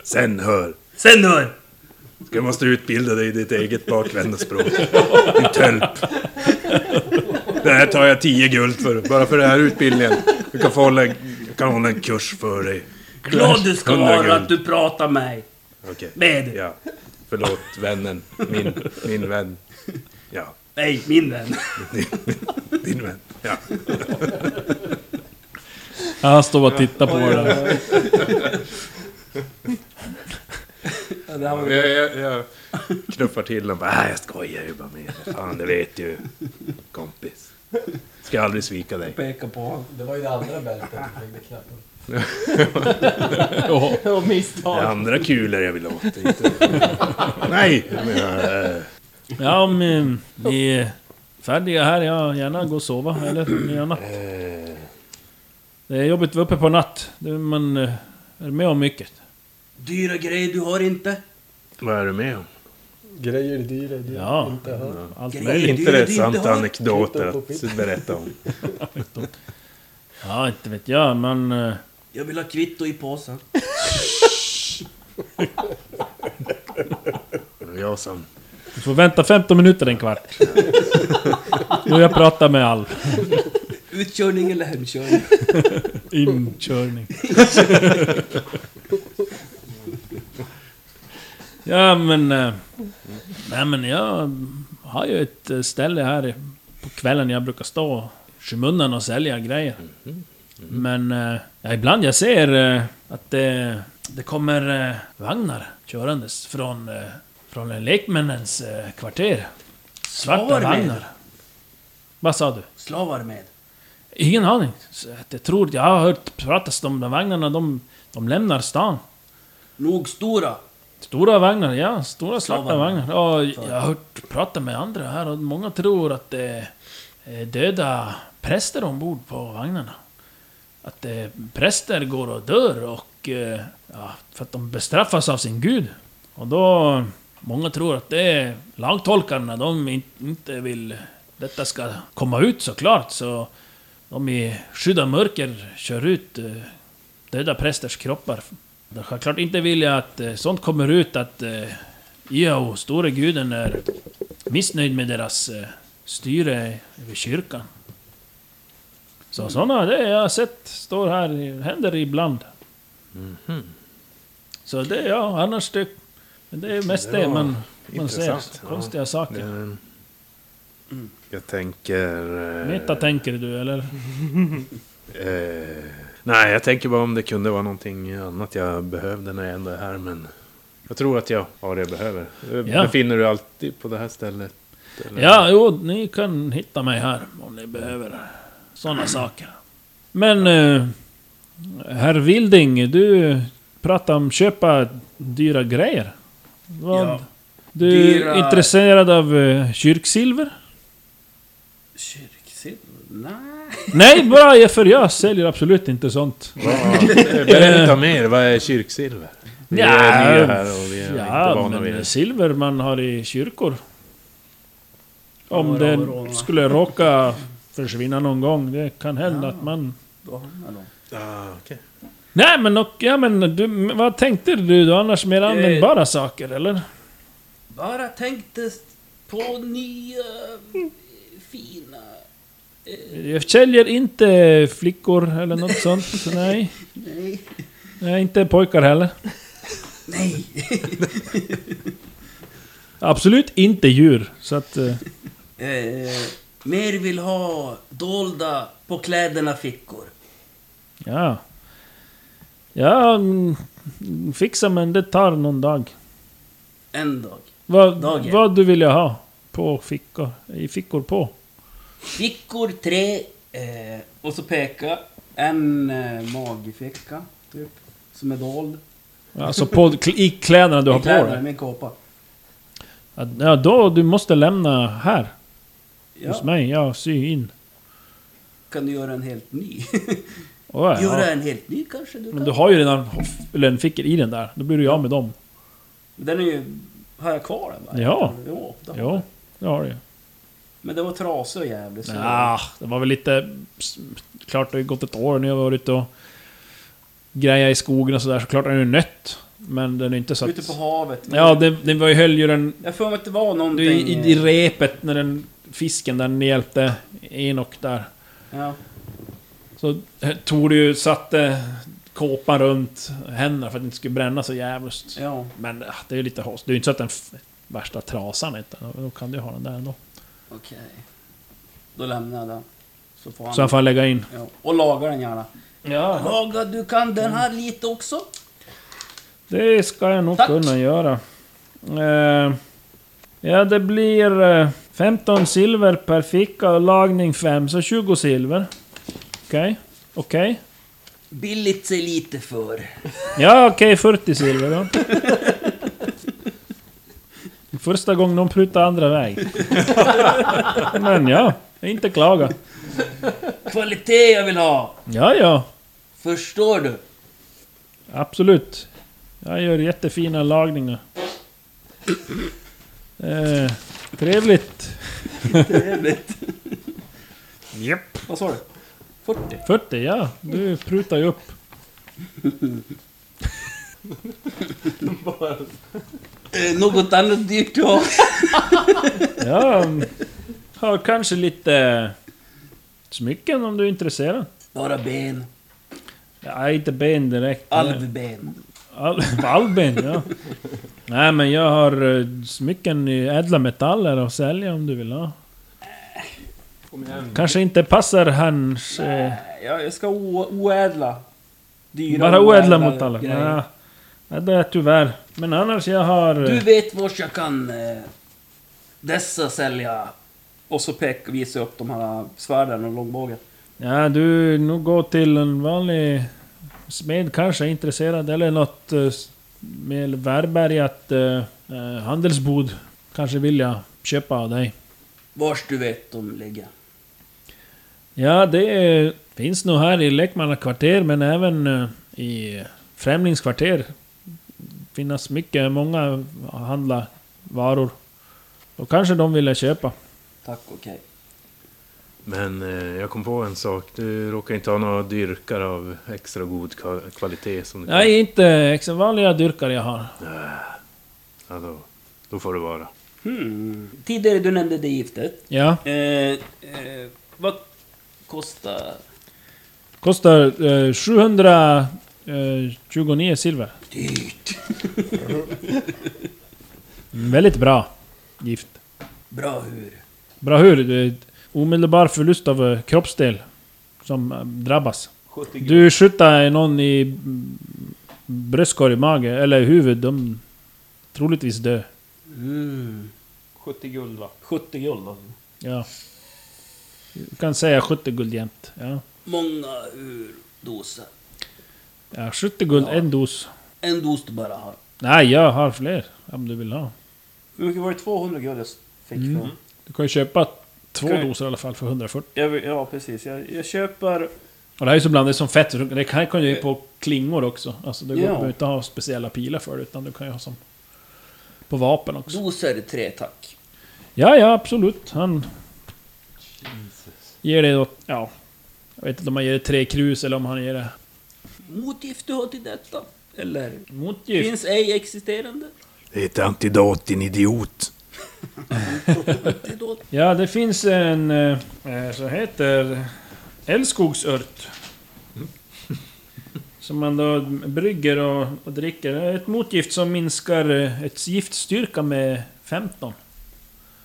Speaker 4: Sen hör.
Speaker 6: Sen hör!
Speaker 4: Du måste utbilda dig i ditt eget bakvända språk. Din tölp. Det här tar jag tio guld för. Bara för den här utbildningen. Du kan få hålla, jag kan hålla en kurs för dig.
Speaker 6: Glad du ska
Speaker 4: 100
Speaker 6: vara
Speaker 4: guld.
Speaker 6: att du pratar mig.
Speaker 4: Okej.
Speaker 6: Med.
Speaker 4: Ja.
Speaker 8: Förlåt, vännen. Min, min vän.
Speaker 4: Ja.
Speaker 6: Nej, min vän.
Speaker 4: Din vän. Ja.
Speaker 2: Ja, han står bara och tittar på det.
Speaker 6: det här var
Speaker 8: Jag, jag, jag
Speaker 4: Knuffar till och bara, "Ah, jag skojar ju bara med dig. Fan, det vet du. Kompis. Ska aldrig svika dig.
Speaker 6: peka på honom.
Speaker 9: Det var ju det andra bältet du hängde knappen.
Speaker 7: Och misstag.
Speaker 4: Det är andra kulor jag vill åt. Inte. Nej! jag menar, eh,
Speaker 2: Ja, om eh, ni är färdiga här, jag gärna gå och sova. Eller gärna. Eh. Det är jobbigt att vara uppe på natt. Det- Man eh, är med om mycket.
Speaker 6: Dyra grejer du har inte.
Speaker 4: Vad är du med om?
Speaker 3: Grejer dyra, dyra.
Speaker 2: Ja.
Speaker 3: Inte han.
Speaker 2: Allt
Speaker 6: Grejer.
Speaker 4: Det är
Speaker 6: du- du-
Speaker 4: intressanta
Speaker 6: du har-
Speaker 4: anekdoter att berätta om.
Speaker 2: Ja, inte vet jag, men... eh,
Speaker 6: Jag vill ha kvitto i påsen.
Speaker 4: Jag som...
Speaker 2: Du får vänta 15 minuter, en kvart. Då jag pratar med all.
Speaker 6: Utkörning eller hemkörning?
Speaker 2: Inkörning. ja men... eh, Nej men jag har ju ett eh, ställe här i- på kvällen jag brukar stå i skymundan och sälja grejer. Men eh, ja, ibland jag ser eh, att det, det kommer eh, vagnar körandes från, eh, från lekmännens eh, kvarter. Svarta
Speaker 6: Svar med.
Speaker 2: vagnar. Vad sa du?
Speaker 6: Slavar med.
Speaker 2: Ingen aning. Så att Jag tror, jag har hört pratas om de vagnarna, de, de lämnar stan.
Speaker 6: Nog stora.
Speaker 2: Stora vagnar, ja. Stora svarta
Speaker 6: Slavar.
Speaker 2: vagnar. Och jag har hört prata med andra här och många tror att det är döda präster ombord på vagnarna. Att eh, präster går och dör och... eh, Ja, för att de bestraffas av sin gud. Och då... Många tror att det är lagtolkarna, de in- inte vill... Detta ska komma ut såklart, så... De i skydd av mörker kör ut eh, döda prästers kroppar. De Självklart inte vill jag att eh, sånt kommer ut att eh, Iao, store guden, är missnöjd med deras eh, styre över kyrkan. Så sådana, det har jag sett, står här, eh, händer ibland. Så det, ja, annars det... Men det är mest det,
Speaker 4: var
Speaker 2: man, man ser.
Speaker 4: intressant. Ja.
Speaker 2: Konstiga saker.
Speaker 4: eh, Jag tänker... eh,
Speaker 2: Meta tänker du, eller?
Speaker 4: eh, Nej, jag tänker bara om det kunde vara någonting annat jag behövde när jag ändå är här, men... Jag tror att jag har det jag behöver. Eh,
Speaker 2: Ja.
Speaker 4: Befinner du dig alltid på det här stället? eller?
Speaker 2: Ja, jo, ni kan hitta mig här om ni behöver sådana saker. Men... Eh, herr Wilding, du pratar om köpa dyra grejer. Vad?
Speaker 6: Ja.
Speaker 2: Du
Speaker 6: Dyra-
Speaker 2: är intresserad av eh, kyrksilver?
Speaker 6: Kyrksilver? Nej.
Speaker 2: Nej, bara jag är furiös säljer absolut inte sånt.
Speaker 4: Eh,
Speaker 8: Berätta
Speaker 2: Eh.
Speaker 8: mer, vad är kyrksilver? Vi är nya här och vi är inte
Speaker 2: ja
Speaker 8: vana vid
Speaker 2: men
Speaker 8: det.
Speaker 2: silver man har i kyrkor. Om
Speaker 6: Ja,
Speaker 2: det
Speaker 6: råvarorna.
Speaker 2: skulle råka försvinna någon gång, det kan hända att man...
Speaker 6: Då hamnar de.
Speaker 4: Ah,
Speaker 2: Nej men, och, ja, men du, men vad tänkte du då annars? Mer
Speaker 6: Eh.
Speaker 2: användbara saker eller?
Speaker 6: Bara tänkte på nya fina...
Speaker 2: Jag säljer inte flickor eller något sånt, nej.
Speaker 6: Nej.
Speaker 2: Nej, inte pojkar heller.
Speaker 6: Nej.
Speaker 2: Absolut inte djur. Så att... eh,
Speaker 6: Eh, mer vill ha dolda på kläderna fickor.
Speaker 2: Ja. Ja, mm, fixa men det tar någon dag.
Speaker 6: En dag.
Speaker 2: Vad,
Speaker 6: Dagen.
Speaker 2: vad du vill jag ha på fickor, i fickor på.
Speaker 6: Fickor tre. Eh, och så peka. En eh, magficka, typ. Som är dold.
Speaker 2: Alltså på, kl- i kläderna du har på
Speaker 6: I kläderna,
Speaker 2: dig.
Speaker 6: min kåpa.
Speaker 2: Att, Ja, då du måste lämna här hos
Speaker 6: Ja,
Speaker 2: mig. Jag syr in.
Speaker 6: kan du göra en helt ny?
Speaker 2: Åh,
Speaker 6: göra
Speaker 2: ja.
Speaker 6: en helt ny kanske du
Speaker 2: Men
Speaker 6: kan?
Speaker 2: du har ju redan hoff- lönnfickor i den där. Då blir du ju av med dem.
Speaker 6: Den är ju... Har jag kvar den? va?
Speaker 2: Ja.
Speaker 6: Jo, det har
Speaker 2: Jo,
Speaker 6: jag.
Speaker 2: det har du ju.
Speaker 6: Men det var trasig och jävligt. så-
Speaker 2: Ah, det var väl lite... Klart det har gått ett år nu. Jag har varit och grejat i skogen och sådär. Så klart den är ju nött. Men den är inte så att...
Speaker 6: Ute på havet. Men
Speaker 2: Ja, den, den var ju höll ju den
Speaker 6: Jag får mig att det var någonting...
Speaker 2: du, i,
Speaker 6: Mm.
Speaker 2: i repet när den fisken där ni hjälpte Enok där.
Speaker 6: ja.
Speaker 2: Så tog du ju, satte kåpan runt händerna för att den inte skulle bränna så jävligt.
Speaker 6: ja.
Speaker 2: Men ah, det är ju lite host. Det är ju inte så att den f- värsta trasan inte. Då- Då kan du ju ha den där ändå.
Speaker 6: Okej. Då lämnar jag den. Så får han...
Speaker 2: Så han får lägga in.
Speaker 6: ja. Och lagar den gärna.
Speaker 2: Ja.
Speaker 6: Laga, du kan den här lite också?
Speaker 2: Det ska jag nog
Speaker 6: Tack.
Speaker 2: kunna göra. Eh, ja, det blir eh, 15 silver per ficka och lagning 5, så 20 silver. Okej, okej.
Speaker 6: Billigt sig lite för.
Speaker 2: Ja, okej, 40 silver då. Första gången de prutar andra väg. Men ja, inte klaga.
Speaker 6: Kvalitet jag vill ha!
Speaker 2: Ja, ja,
Speaker 6: Förstår du?
Speaker 2: absolut. Jag gör jättefina lagningar. Eh, trevligt.
Speaker 6: Trevligt.
Speaker 2: Japp.
Speaker 6: Vad sa du? 40?
Speaker 2: 40, ja. Du prutar ju upp.
Speaker 6: Eh, något annat dyrt du har?
Speaker 2: Ja, mm, har kanske lite smycken om du är intresserad.
Speaker 6: Bara ben.
Speaker 2: Ja, inte ben direkt.
Speaker 6: Alvben.
Speaker 2: Al Albin, ja. Nej men jag har eh, smycken i ädla metaller att sälja om du vill ha. Kanske inte passar hans... Eh,
Speaker 6: Nej, jag jag ska o- oädla. Dyra
Speaker 2: bara oädla metaller.
Speaker 6: grejer.
Speaker 2: Ja, Ja, det är tyvärr. Men annars jag har...
Speaker 6: Du
Speaker 2: eh,
Speaker 6: vet vart jag kan eh, dessa sälja. Och så pek, visar jag upp de här svärden och långbågen.
Speaker 2: Ja, du nog gå till en vanlig smed kanske, intresserad. Eller något eh, s- med välbärgat eh, eh, handelsbod. Kanske vill jag köpa av dig.
Speaker 6: Vars du vet de ligger.
Speaker 2: Ja, det eh, finns nog här i lekmannakvarter men även eh, i främlingskvarter. Finns mycket, många handla varor. Och kanske de ville köpa.
Speaker 6: Tack, okej.
Speaker 8: Men eh, jag kom på en sak. Du råkar inte ha några dyrkar av extra god ka- kvalitet som du kan-
Speaker 2: Nej, inte extra vanliga dyrkar jag har.
Speaker 8: Ja, då, då får det vara.
Speaker 6: Hmm. Tidigare du nämnde det giftet.
Speaker 2: Ja,
Speaker 6: Eh, eh, vad kostar...
Speaker 2: kostar eh, 729 silver.
Speaker 6: Dyrt.
Speaker 2: Mm, Väldigt bra gift.
Speaker 6: Bra hur.
Speaker 2: Bra hur? Det är Omedelbar förlust av eh, kroppsdel som eh, drabbas.
Speaker 6: 70 gr-
Speaker 2: Du skjuter någon i mm, bröstkorg, mage eller huvud, de troligtvis dö.
Speaker 6: Mm.
Speaker 7: 70 guld va?
Speaker 6: 70 guld då.
Speaker 2: Ja. Du kan säga 70 guld jämt. Ja.
Speaker 6: Många ur doser.
Speaker 2: Ja, 70 guld, en dos.
Speaker 6: En dos du bara har.
Speaker 2: Nej, jag har fler om du vill ha.
Speaker 6: Mm. Hur mycket var det? 200 guld jag fick för
Speaker 2: Du kan ju köpa Två
Speaker 6: Okej.
Speaker 2: doser i alla fall för 140.
Speaker 6: Jag, ja, precis. Jag, jag köper... Eh.
Speaker 2: Och det här är så blandat som fett, så det här kan ju ge på klingor också. Alltså det går,
Speaker 6: Ja.
Speaker 2: du behöver inte ha speciella pilar för det, utan du kan ju ha som... På vapen också.
Speaker 6: Doser tre, tack.
Speaker 2: Ja, ja, absolut. Han... Ger det då... Ja. Jag vet inte om han ger det tre krus eller om han ger det...
Speaker 6: Motgift du har till detta? Eller?
Speaker 2: Motgift.
Speaker 6: Finns ej existerande?
Speaker 8: Det är ett antidot, din idiot.
Speaker 6: Det är då...
Speaker 2: Ja, det finns en eh, eh, som heter älskogsört. Som man då brygger och, och dricker. Det är Ett motgift som minskar eh, ett giftstyrka med 15.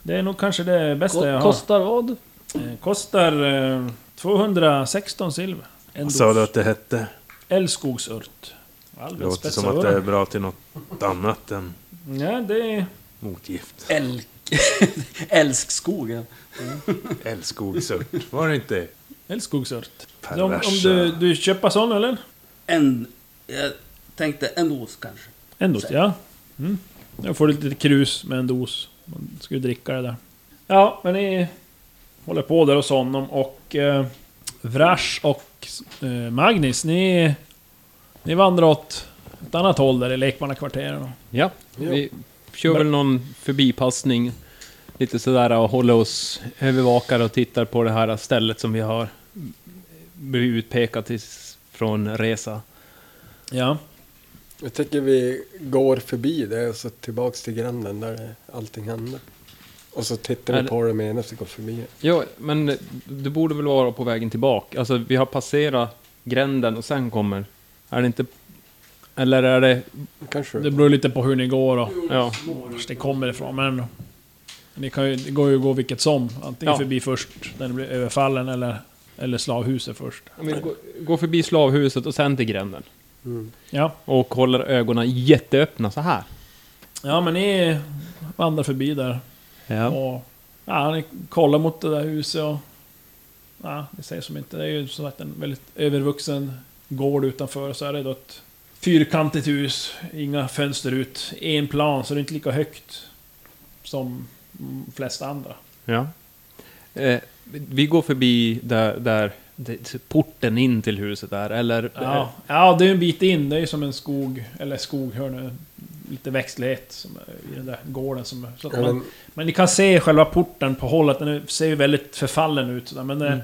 Speaker 2: Det är nog kanske det bästa jag har.
Speaker 7: Kostar vad?
Speaker 2: Eh, Kostar eh, 216 silver. En
Speaker 8: Vad sa
Speaker 2: dos.
Speaker 8: du att det hette?
Speaker 2: Älskogsört.
Speaker 8: Det
Speaker 2: Albin
Speaker 8: låter
Speaker 2: spetsar
Speaker 8: som att det är
Speaker 2: öronen.
Speaker 8: bra till något annat än
Speaker 2: Ja, det är...
Speaker 8: motgift.
Speaker 6: Älk... Älskskogen.
Speaker 8: Älskogsört, var det inte?
Speaker 2: Älskogsört. Om, om
Speaker 8: Perversa.
Speaker 2: du, du köper sån eller?
Speaker 6: En... Jag tänkte en dos kanske.
Speaker 2: En dos, ja. Mm. Jag får lite krus med en dos. Man ska ju dricka det där. Ja, men ni håller på där hos honom och eh, Vrash och eh, Magnus, ni, ni vandrar åt ett annat håll där i lekmannakvarteren.
Speaker 7: Ja, vi kör väl någon förbipassning. Lite sådär och håller oss övervakade och tittar på det här stället som vi har blivit utpekat till från resa.
Speaker 2: Ja.
Speaker 3: Jag tänker vi går förbi det och så tillbaks till gränden där allting hände. Och så tittar
Speaker 7: Är
Speaker 3: vi
Speaker 7: det-
Speaker 3: på det medan vi går förbi det.
Speaker 7: Ja, men du borde väl vara på vägen tillbaka? Alltså, vi har passerat gränden och sen kommer... Är det inte... Eller är det...
Speaker 3: Kanske
Speaker 2: Det beror lite på hur ni går och
Speaker 7: Ja,
Speaker 2: vart det kommer ifrån. Men ändå. Ni kan ju, det går ju att gå vilket som. Antingen
Speaker 7: Ja.
Speaker 2: förbi först, när ni blir överfallen, eller, eller slavhuset först.
Speaker 7: om vi går, går förbi slavhuset och sen till gränden.
Speaker 2: Ja.
Speaker 7: Och håller ögonen jätteöppna så här.
Speaker 2: Ja men ni vandrar förbi där. Och, ja, ni kollar mot det där huset och... Ja, det säger som inte. Det är ju som sagt en väldigt övervuxen gård utanför. Så är det då ett fyrkantigt hus. Inga fönster ut. En plan, så det är inte lika högt som de flesta andra.
Speaker 7: Ja. Eh, vi går förbi där, där det- porten in till huset är, eller?
Speaker 2: Ja, ja det är ju en bit in. Det är ju som en skog, eller skog, hör nu. Lite växtlighet som är i den där gården. Som, så att man,
Speaker 3: Men,
Speaker 2: Men ni kan se själva porten på håll att den ser ju väldigt förfallen ut. sådär, Men
Speaker 7: Mm.
Speaker 2: det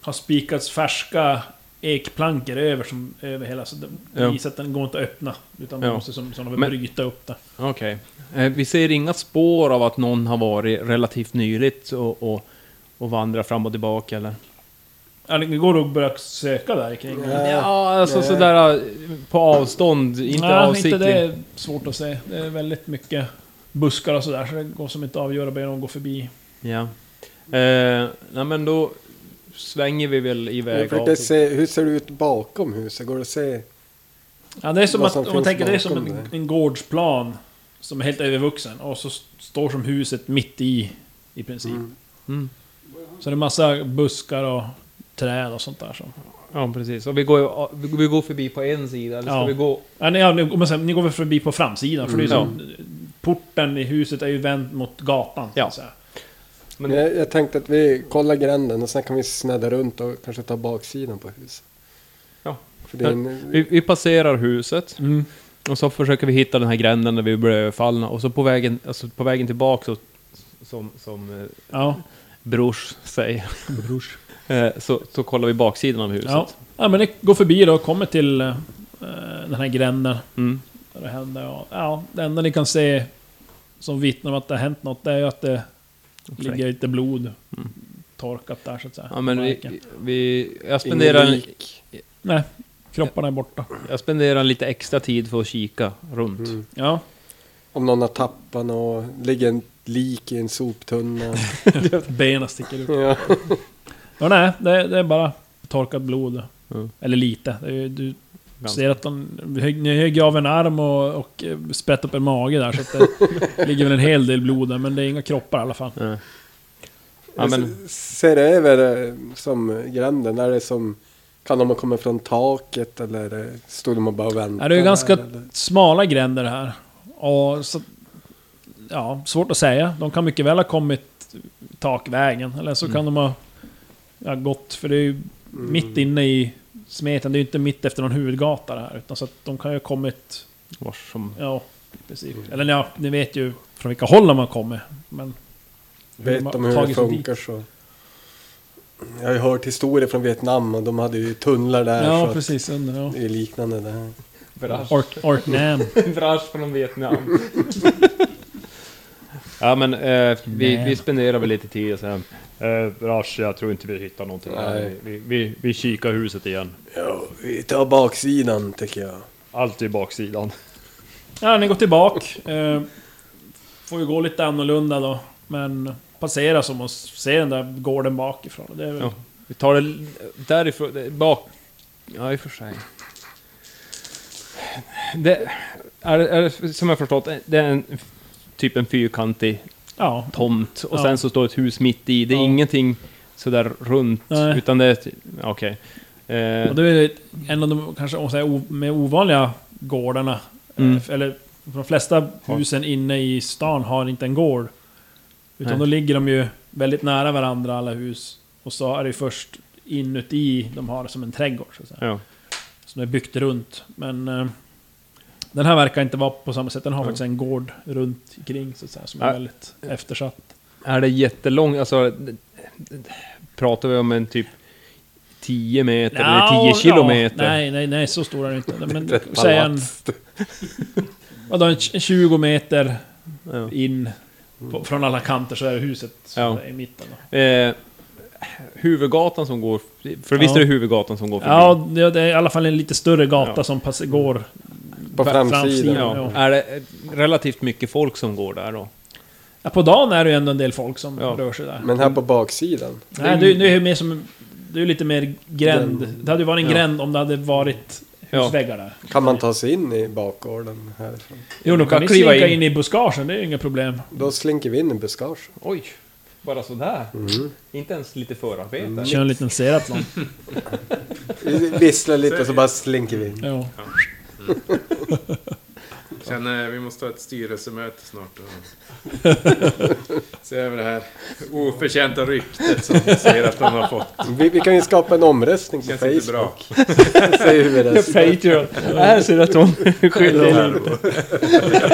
Speaker 2: har spikats färska ekplankor över, som, över hela. Så det
Speaker 7: Ja.
Speaker 2: visar att den går inte att öppna. Utan man
Speaker 7: Ja.
Speaker 2: måste som, som de vill
Speaker 7: Men-
Speaker 2: bryta upp det.
Speaker 7: Okej. Eh, vi ser inga spår av att någon har varit relativt nyligt och, och, och vandrat fram och tillbaka, eller?
Speaker 2: Ja, det går att börja söka där kring.
Speaker 3: Ja.
Speaker 7: Ja, alltså
Speaker 3: nej.
Speaker 7: sådär eh, på avstånd, inte
Speaker 2: Nej,
Speaker 7: avsiktligt.
Speaker 2: inte det är svårt att se. Det är väldigt mycket buskar och sådär. Så det går som inte att avgöra bara genom att gå förbi.
Speaker 7: Ja. Eh, nej, men då svänger vi väl
Speaker 3: jag
Speaker 7: iväg.
Speaker 3: försöker
Speaker 7: av-
Speaker 3: se, hur ser det ut bakom huset? Går det att se?
Speaker 2: Ja, det är som
Speaker 3: Vad
Speaker 2: att,
Speaker 3: som
Speaker 2: om man
Speaker 3: finns
Speaker 2: tänker, det är som
Speaker 3: bakom
Speaker 2: en,
Speaker 3: det.
Speaker 2: en gårdsplan. Som är helt övervuxen. Och så st- står som huset mitt i, i princip.
Speaker 7: Mm.
Speaker 2: Så det är massa buskar och träd och sånt där som...
Speaker 7: Ja, precis. Och vi går, vi går förbi på en sida, eller ska
Speaker 2: Ja.
Speaker 7: vi gå...
Speaker 2: Ja, nej, ja, ni, om man säger, ni går väl förbi på framsidan, för det är ju
Speaker 3: Mm.
Speaker 2: som, Porten i huset är ju vänd mot gatan. så
Speaker 7: Ja.
Speaker 2: att säga.
Speaker 7: Men-
Speaker 3: Jag, jag tänkte att vi kollar gränden och sen kan vi snedda runt och kanske ta baksidan på huset.
Speaker 7: Ja.
Speaker 3: För det är en,
Speaker 7: Vi, vi passerar huset.
Speaker 2: Mm.
Speaker 7: Och så försöker vi hitta den här gränden där vi blev överfallna. Och så på vägen, alltså på vägen tillbaka, så, som, som eh,
Speaker 2: Ja.
Speaker 7: Brors säger, eh, så, så kollar vi baksidan av huset.
Speaker 2: Ja. ja, men ni går förbi då och kommer till eh, den här gränden.
Speaker 7: Mm.
Speaker 2: Där det händer. Och, ja, det enda ni kan se som vittnar om att det har hänt något, det är ju att det ligger lite blod torkat där så att säga.
Speaker 7: Mm. Ja, men
Speaker 2: på
Speaker 7: vi,
Speaker 2: marken.
Speaker 7: vi, jag, spenderar, en-
Speaker 2: Nej, kropparna är borta.
Speaker 7: jag spenderar lite extra tid för att kika runt.
Speaker 3: Mm.
Speaker 2: Ja.
Speaker 3: om någon har tappat och ligger en lik i en soptunna.
Speaker 2: Benen sticker ut.
Speaker 3: ja.
Speaker 2: Ja, nej, det, det är bara torkat blod.
Speaker 7: Mm.
Speaker 2: Eller lite. Det är ju- Du
Speaker 7: Ganska.
Speaker 2: ser att de... Ni högg av en arm och, och eh, sprätt upp en mage där, så att det ligger väl en hel del blod där, men det är inga kroppar i alla fall.
Speaker 7: Eh. Ja, men,
Speaker 2: Alltså,
Speaker 3: S- Ser det över eh, som gränden? Är det som, kan de ha kommit från taket eller eh, stod de och bara väntade?
Speaker 2: Ja, det är ju ganska
Speaker 3: där, eller?
Speaker 2: smala gränder här. Och så, ja, svårt att säga. De kan mycket väl ha kommit takvägen. Eller så kan
Speaker 3: Mm.
Speaker 2: de ha ja, gått, för det är ju mitt inne i smeten. Det är ju inte mitt efter någon huvudgata det här. Utan så att de kan ju ha kommit,
Speaker 7: Vars som...
Speaker 2: ja, precis.
Speaker 3: Mm.
Speaker 2: Eller ja, ni vet ju från vilka håll de har kommit. Men
Speaker 3: Vet de hur det
Speaker 2: Tagit sig dit.
Speaker 3: funkar så... Jag har ju hört historier från Vietnam och de hade ju tunnlar där.
Speaker 2: Ja,
Speaker 3: så
Speaker 2: precis. Under, ja.
Speaker 3: Att det är liknande där.
Speaker 2: Ork, Orknam.
Speaker 7: Vrash från Vietnam. ja men eh, vi,
Speaker 2: Nej.
Speaker 7: vi spenderar väl lite tid och sen...
Speaker 5: Eh, Rash, jag tror inte vi hittar någonting.
Speaker 3: Nej.
Speaker 5: Vi, vi, vi kikar huset igen.
Speaker 3: Ja, vi tar baksidan tycker jag.
Speaker 5: Allt i baksidan.
Speaker 2: Ja, ni går tillbaka. Eh, får ju gå lite annorlunda då. Men passera som att se den där gården bakifrån. Det är väl...
Speaker 7: Ja. Vi tar det därifrån, det- bak... Ja, i och för sig. Det är, är, som jag förstått, det är en, typ en fyrkantig
Speaker 2: ja.
Speaker 7: tomt och
Speaker 2: Ja.
Speaker 7: sen så står ett hus mitt i. Det är
Speaker 2: Ja.
Speaker 7: ingenting sådär runt,
Speaker 2: Nej.
Speaker 7: utan det är... ett- Okej. Eh,
Speaker 2: Och det är ju en av de kanske om man säger, o- med ovanliga gårdarna.
Speaker 7: Mm.
Speaker 2: Eh, Eller de flesta husen inne i stan har inte en gård. Utan
Speaker 7: Nej.
Speaker 2: då ligger de ju väldigt nära varandra alla hus. Och så är det ju först inuti de har det som en trädgård. Så att säga.
Speaker 7: ja.
Speaker 2: Som är byggt runt. Men eh, den här verkar inte vara på samma sätt. Den har faktiskt en gård runt kring så att säga, som är
Speaker 7: Ja.
Speaker 2: väldigt eftersatt.
Speaker 7: Är det jättelång, alltså... d- d- Pratar vi om en typ 10 meter eller 10
Speaker 2: Ja,
Speaker 7: kilometer?
Speaker 2: Ja, nej, nej, nej, så stor är den inte. Men
Speaker 3: Ett
Speaker 2: säg en,
Speaker 3: palats.
Speaker 2: vadå, en tj- 20 meter
Speaker 7: Ja.
Speaker 2: in på, från alla kanter så är det huset som
Speaker 7: Ja.
Speaker 2: är i mitten. Då.
Speaker 7: Eh, huvudgatan som går... För visst är det huvudgatan som går förbi?
Speaker 2: Ja, det det är i alla fall en lite större gata
Speaker 7: Ja.
Speaker 2: som pass, går
Speaker 3: På
Speaker 2: fra-
Speaker 3: framsidan.
Speaker 7: Ja. Är det eh, relativt mycket folk som går där då?
Speaker 2: Ja, på dagen är det ju ändå en del folk som
Speaker 7: Ja.
Speaker 2: rör sig där.
Speaker 3: Men här på baksidan.
Speaker 2: Nej, du, du är ju mer som... Du är lite mer gränd. Det hade ju varit en
Speaker 7: Ja.
Speaker 2: gränd om det hade varit
Speaker 7: Ja.
Speaker 2: husväggar där.
Speaker 3: Kan man ta sig in i bakgården härifrån?
Speaker 2: Jo, då
Speaker 7: kan
Speaker 2: kan ni
Speaker 7: kliva
Speaker 2: slinka in.
Speaker 7: in.
Speaker 2: i buskagen, det är ju inga problem.
Speaker 3: Då slinker vi in i buskage.
Speaker 7: Oj! Bara sådär? Inte ens lite förarbete?
Speaker 2: Kör en liten seratlon.
Speaker 3: Vi visslar lite och så bara slinker vi in.
Speaker 2: Jo.
Speaker 8: Känner eh, vi måste ha ett styrelsemöte snart. Och se över det här oförtjänta ryktet som säger att de har fått.
Speaker 3: Vi, vi kan ju skapa en omröstning på
Speaker 8: Det känns inte
Speaker 3: Facebook.
Speaker 8: bra.
Speaker 3: Säger vi det.
Speaker 7: Patreon! Här ser du att hon är skyldig.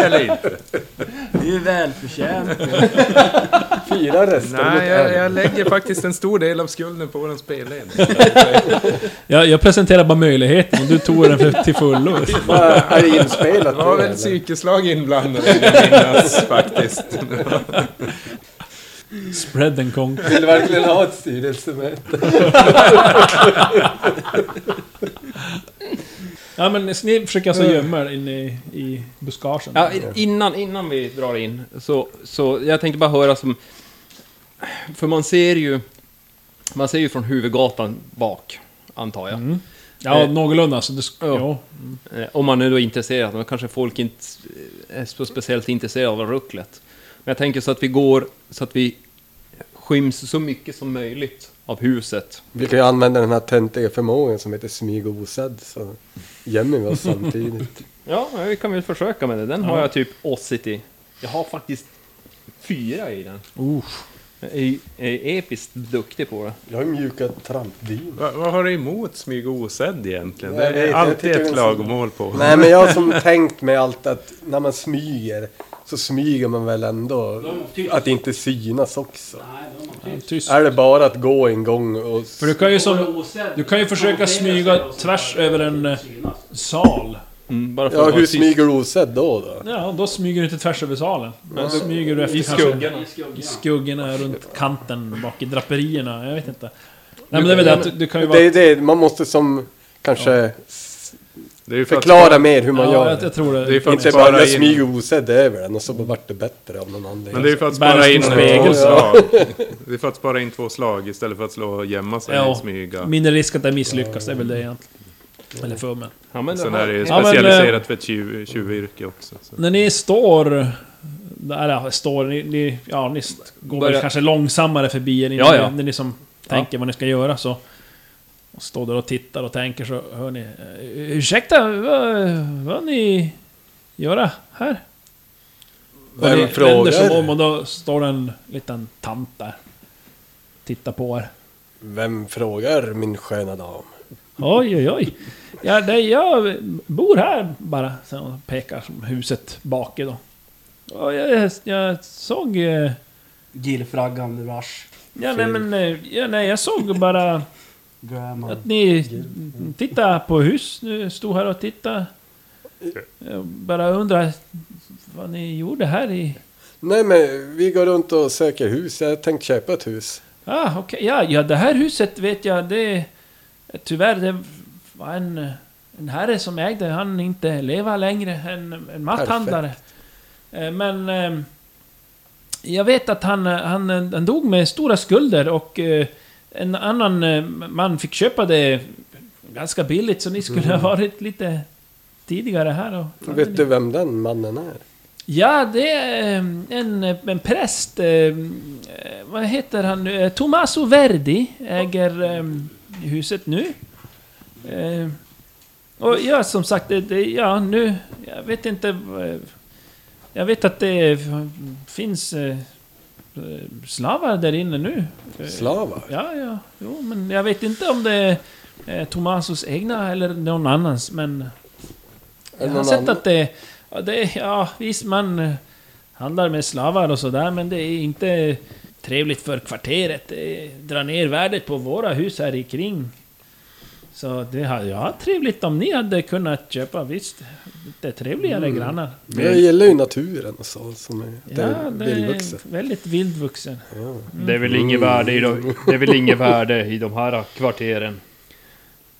Speaker 8: Eller inte.
Speaker 6: Det är välförtjänt.
Speaker 3: Fyra röster mot
Speaker 8: Nej, jag,
Speaker 3: en.
Speaker 8: jag lägger faktiskt en stor del av skulden på våran spelledning.
Speaker 2: Jag, jag presenterar bara möjligheten, du tog den för, till fullo.
Speaker 3: Vad Är det inspelat
Speaker 8: Det var
Speaker 3: nu
Speaker 8: väl
Speaker 3: eller?
Speaker 8: psykeslag inblandade, vill jag minnas faktiskt.
Speaker 2: Spread and conquer.
Speaker 3: Vill du verkligen ha ett styrelsemöte?
Speaker 2: Ja, men ni försöker alltså gömma er inne i, i buskagen.
Speaker 7: Ja, i- innan, innan vi drar in, så, så jag tänkte bara höra som... För man ser ju... Man ser ju från huvudgatan bak, antar jag.
Speaker 2: Mm. ja
Speaker 7: eh,
Speaker 2: någorlunda. Så det, sk-
Speaker 7: ja.
Speaker 2: jo.
Speaker 7: Eh, Om man nu då är intresserad, men kanske folk inte eh, är så speciellt intresserade av rucklet. Men jag tänker så att vi går, så att vi skyms så mycket som möjligt av huset.
Speaker 3: Vi kan ju använda den här töntiga förmågan som heter smyg och osedd så gömmer vi oss samtidigt.
Speaker 7: Ja, vi kan väl försöka med det. Den har jag typ Ossity. Jag har faktiskt fyra i den. Jag är, jag är episkt duktig på det.
Speaker 3: Jag har mjuka trampdynor.
Speaker 8: Vad, vad har du emot smyg och osedd egentligen?
Speaker 3: Jag
Speaker 8: det
Speaker 3: vet,
Speaker 8: är
Speaker 3: jag
Speaker 8: alltid
Speaker 3: tycker det är
Speaker 8: ett
Speaker 3: så-
Speaker 8: klagomål på.
Speaker 3: Nej men jag har som tänkt mig allt att när man smyger så smyger man väl ändå att inte synas också.
Speaker 2: Tyst.
Speaker 3: Är det bara att gå en gång och...
Speaker 2: För du kan ju som... Du kan ju försöka smyga tvärs över en eh, sal.
Speaker 7: Mm, bara
Speaker 3: Ja,
Speaker 7: att vara
Speaker 3: hur
Speaker 7: tyst.
Speaker 3: smyger du osedd då? då?
Speaker 2: Ja, då smyger du inte tvärs över salen. Då smyger du efter
Speaker 7: I
Speaker 2: kanske-
Speaker 7: skuggorna.
Speaker 2: I skuggorna runt kanten bak i draperierna, jag vet inte. Nej men det är väl det att du- du kan ju vara...
Speaker 3: Det är det, man måste som kanske s-
Speaker 8: Det är ju för att-
Speaker 3: förklara mer hur man
Speaker 2: Ja,
Speaker 3: gör
Speaker 2: jag,
Speaker 3: det.
Speaker 2: jag tror det.
Speaker 8: Det är för att
Speaker 3: Inte bara
Speaker 8: spara
Speaker 3: jag
Speaker 8: in-
Speaker 3: smyger osedd över den och så bara vart det bättre av någon
Speaker 8: Men det är
Speaker 3: anledning.
Speaker 8: ju för att
Speaker 2: Bärs
Speaker 8: spara
Speaker 2: till
Speaker 8: in
Speaker 2: spegel.
Speaker 8: två slag. Det är för att spara in två slag istället för att slå och gömma sig
Speaker 2: Ja.
Speaker 8: och smyga.
Speaker 2: Mindre risk att det misslyckas, det är väl det egentligen. Eller för mig.
Speaker 7: Ja, men
Speaker 8: Sen
Speaker 7: det
Speaker 8: är
Speaker 7: har-
Speaker 8: det ju
Speaker 2: Ja, men, eh,
Speaker 8: specialiserat för tjuv- tjuvyrke också. Så.
Speaker 2: När ni står... Där, ja, står ni, ni... Ja, ni st- går väl
Speaker 7: Börja-
Speaker 2: kanske långsammare förbi er innan
Speaker 7: Ja, ja.
Speaker 2: ni- när ni som tänker vad ni ska göra så... Och står där och tittar och tänker så hör ni... eh, Ursäkta, vad, vad ni... Göra här?
Speaker 3: Vem
Speaker 2: Vänder sig
Speaker 3: frågar?
Speaker 2: om och då står det en liten tant där. tittar på er.
Speaker 3: Vem frågar min sköna dam?
Speaker 2: Oj, oj, oj. Ja, det, jag bor här bara. Sen hon pekar som huset bak i då. Ja, jag, jag såg... eh,
Speaker 6: Gillfraggan, Rush,
Speaker 2: Ja, nej, men... eh, Ja, nej, jag såg bara
Speaker 6: Grandma.
Speaker 2: att ni tittade på hus. Nu stod här och tittade. Jag bara undrar vad ni gjorde här i...
Speaker 3: Nej men vi går runt och söker hus. Jag tänkte köpa ett hus.
Speaker 2: Ah, okej. Ja, ja, det här huset vet jag, det... Tyvärr, det var en, en herre som ägde, han inte lever längre, en, en matthandlare. Eh, Men... eh, Jag vet att han, han, han dog med stora skulder och eh, en annan eh, man fick köpa det ganska billigt, så ni skulle ha varit lite tidigare här. Och,
Speaker 3: Vet du vem den mannen är?
Speaker 2: Ja, det är eh, en, en präst. eh, eh, Vad heter han nu? Eh, Tommaso Verdi äger eh, huset nu. Eh, Och ja, som sagt, det, det, ja nu... Jag vet inte... eh, Jag vet att det f- finns eh, eh, slavar där inne nu. Eh,
Speaker 3: Slavar?
Speaker 2: Ja, ja. Jo, men jag vet inte om det är eh, Tommasos egna eller någon annans, men...
Speaker 3: Är det
Speaker 2: Jag har
Speaker 3: någon
Speaker 2: sett
Speaker 3: annan?
Speaker 2: att det, ja, det... Ja, visst man eh, handlar med slavar och sådär, men det är inte trevligt för kvarteret. Det drar ner värdet på våra hus här i kring. Så det har ja, trevligt om ni hade kunnat köpa, visst. Det är trevligare grannar.
Speaker 3: Jag gillar ju naturen och så. Som är, Mm. det
Speaker 2: Ja,
Speaker 3: är
Speaker 2: det är
Speaker 3: vildvuxet.
Speaker 2: väldigt vildvuxen.
Speaker 7: Det är väl inget värde i de, det är väl inget värde i de här kvarteren.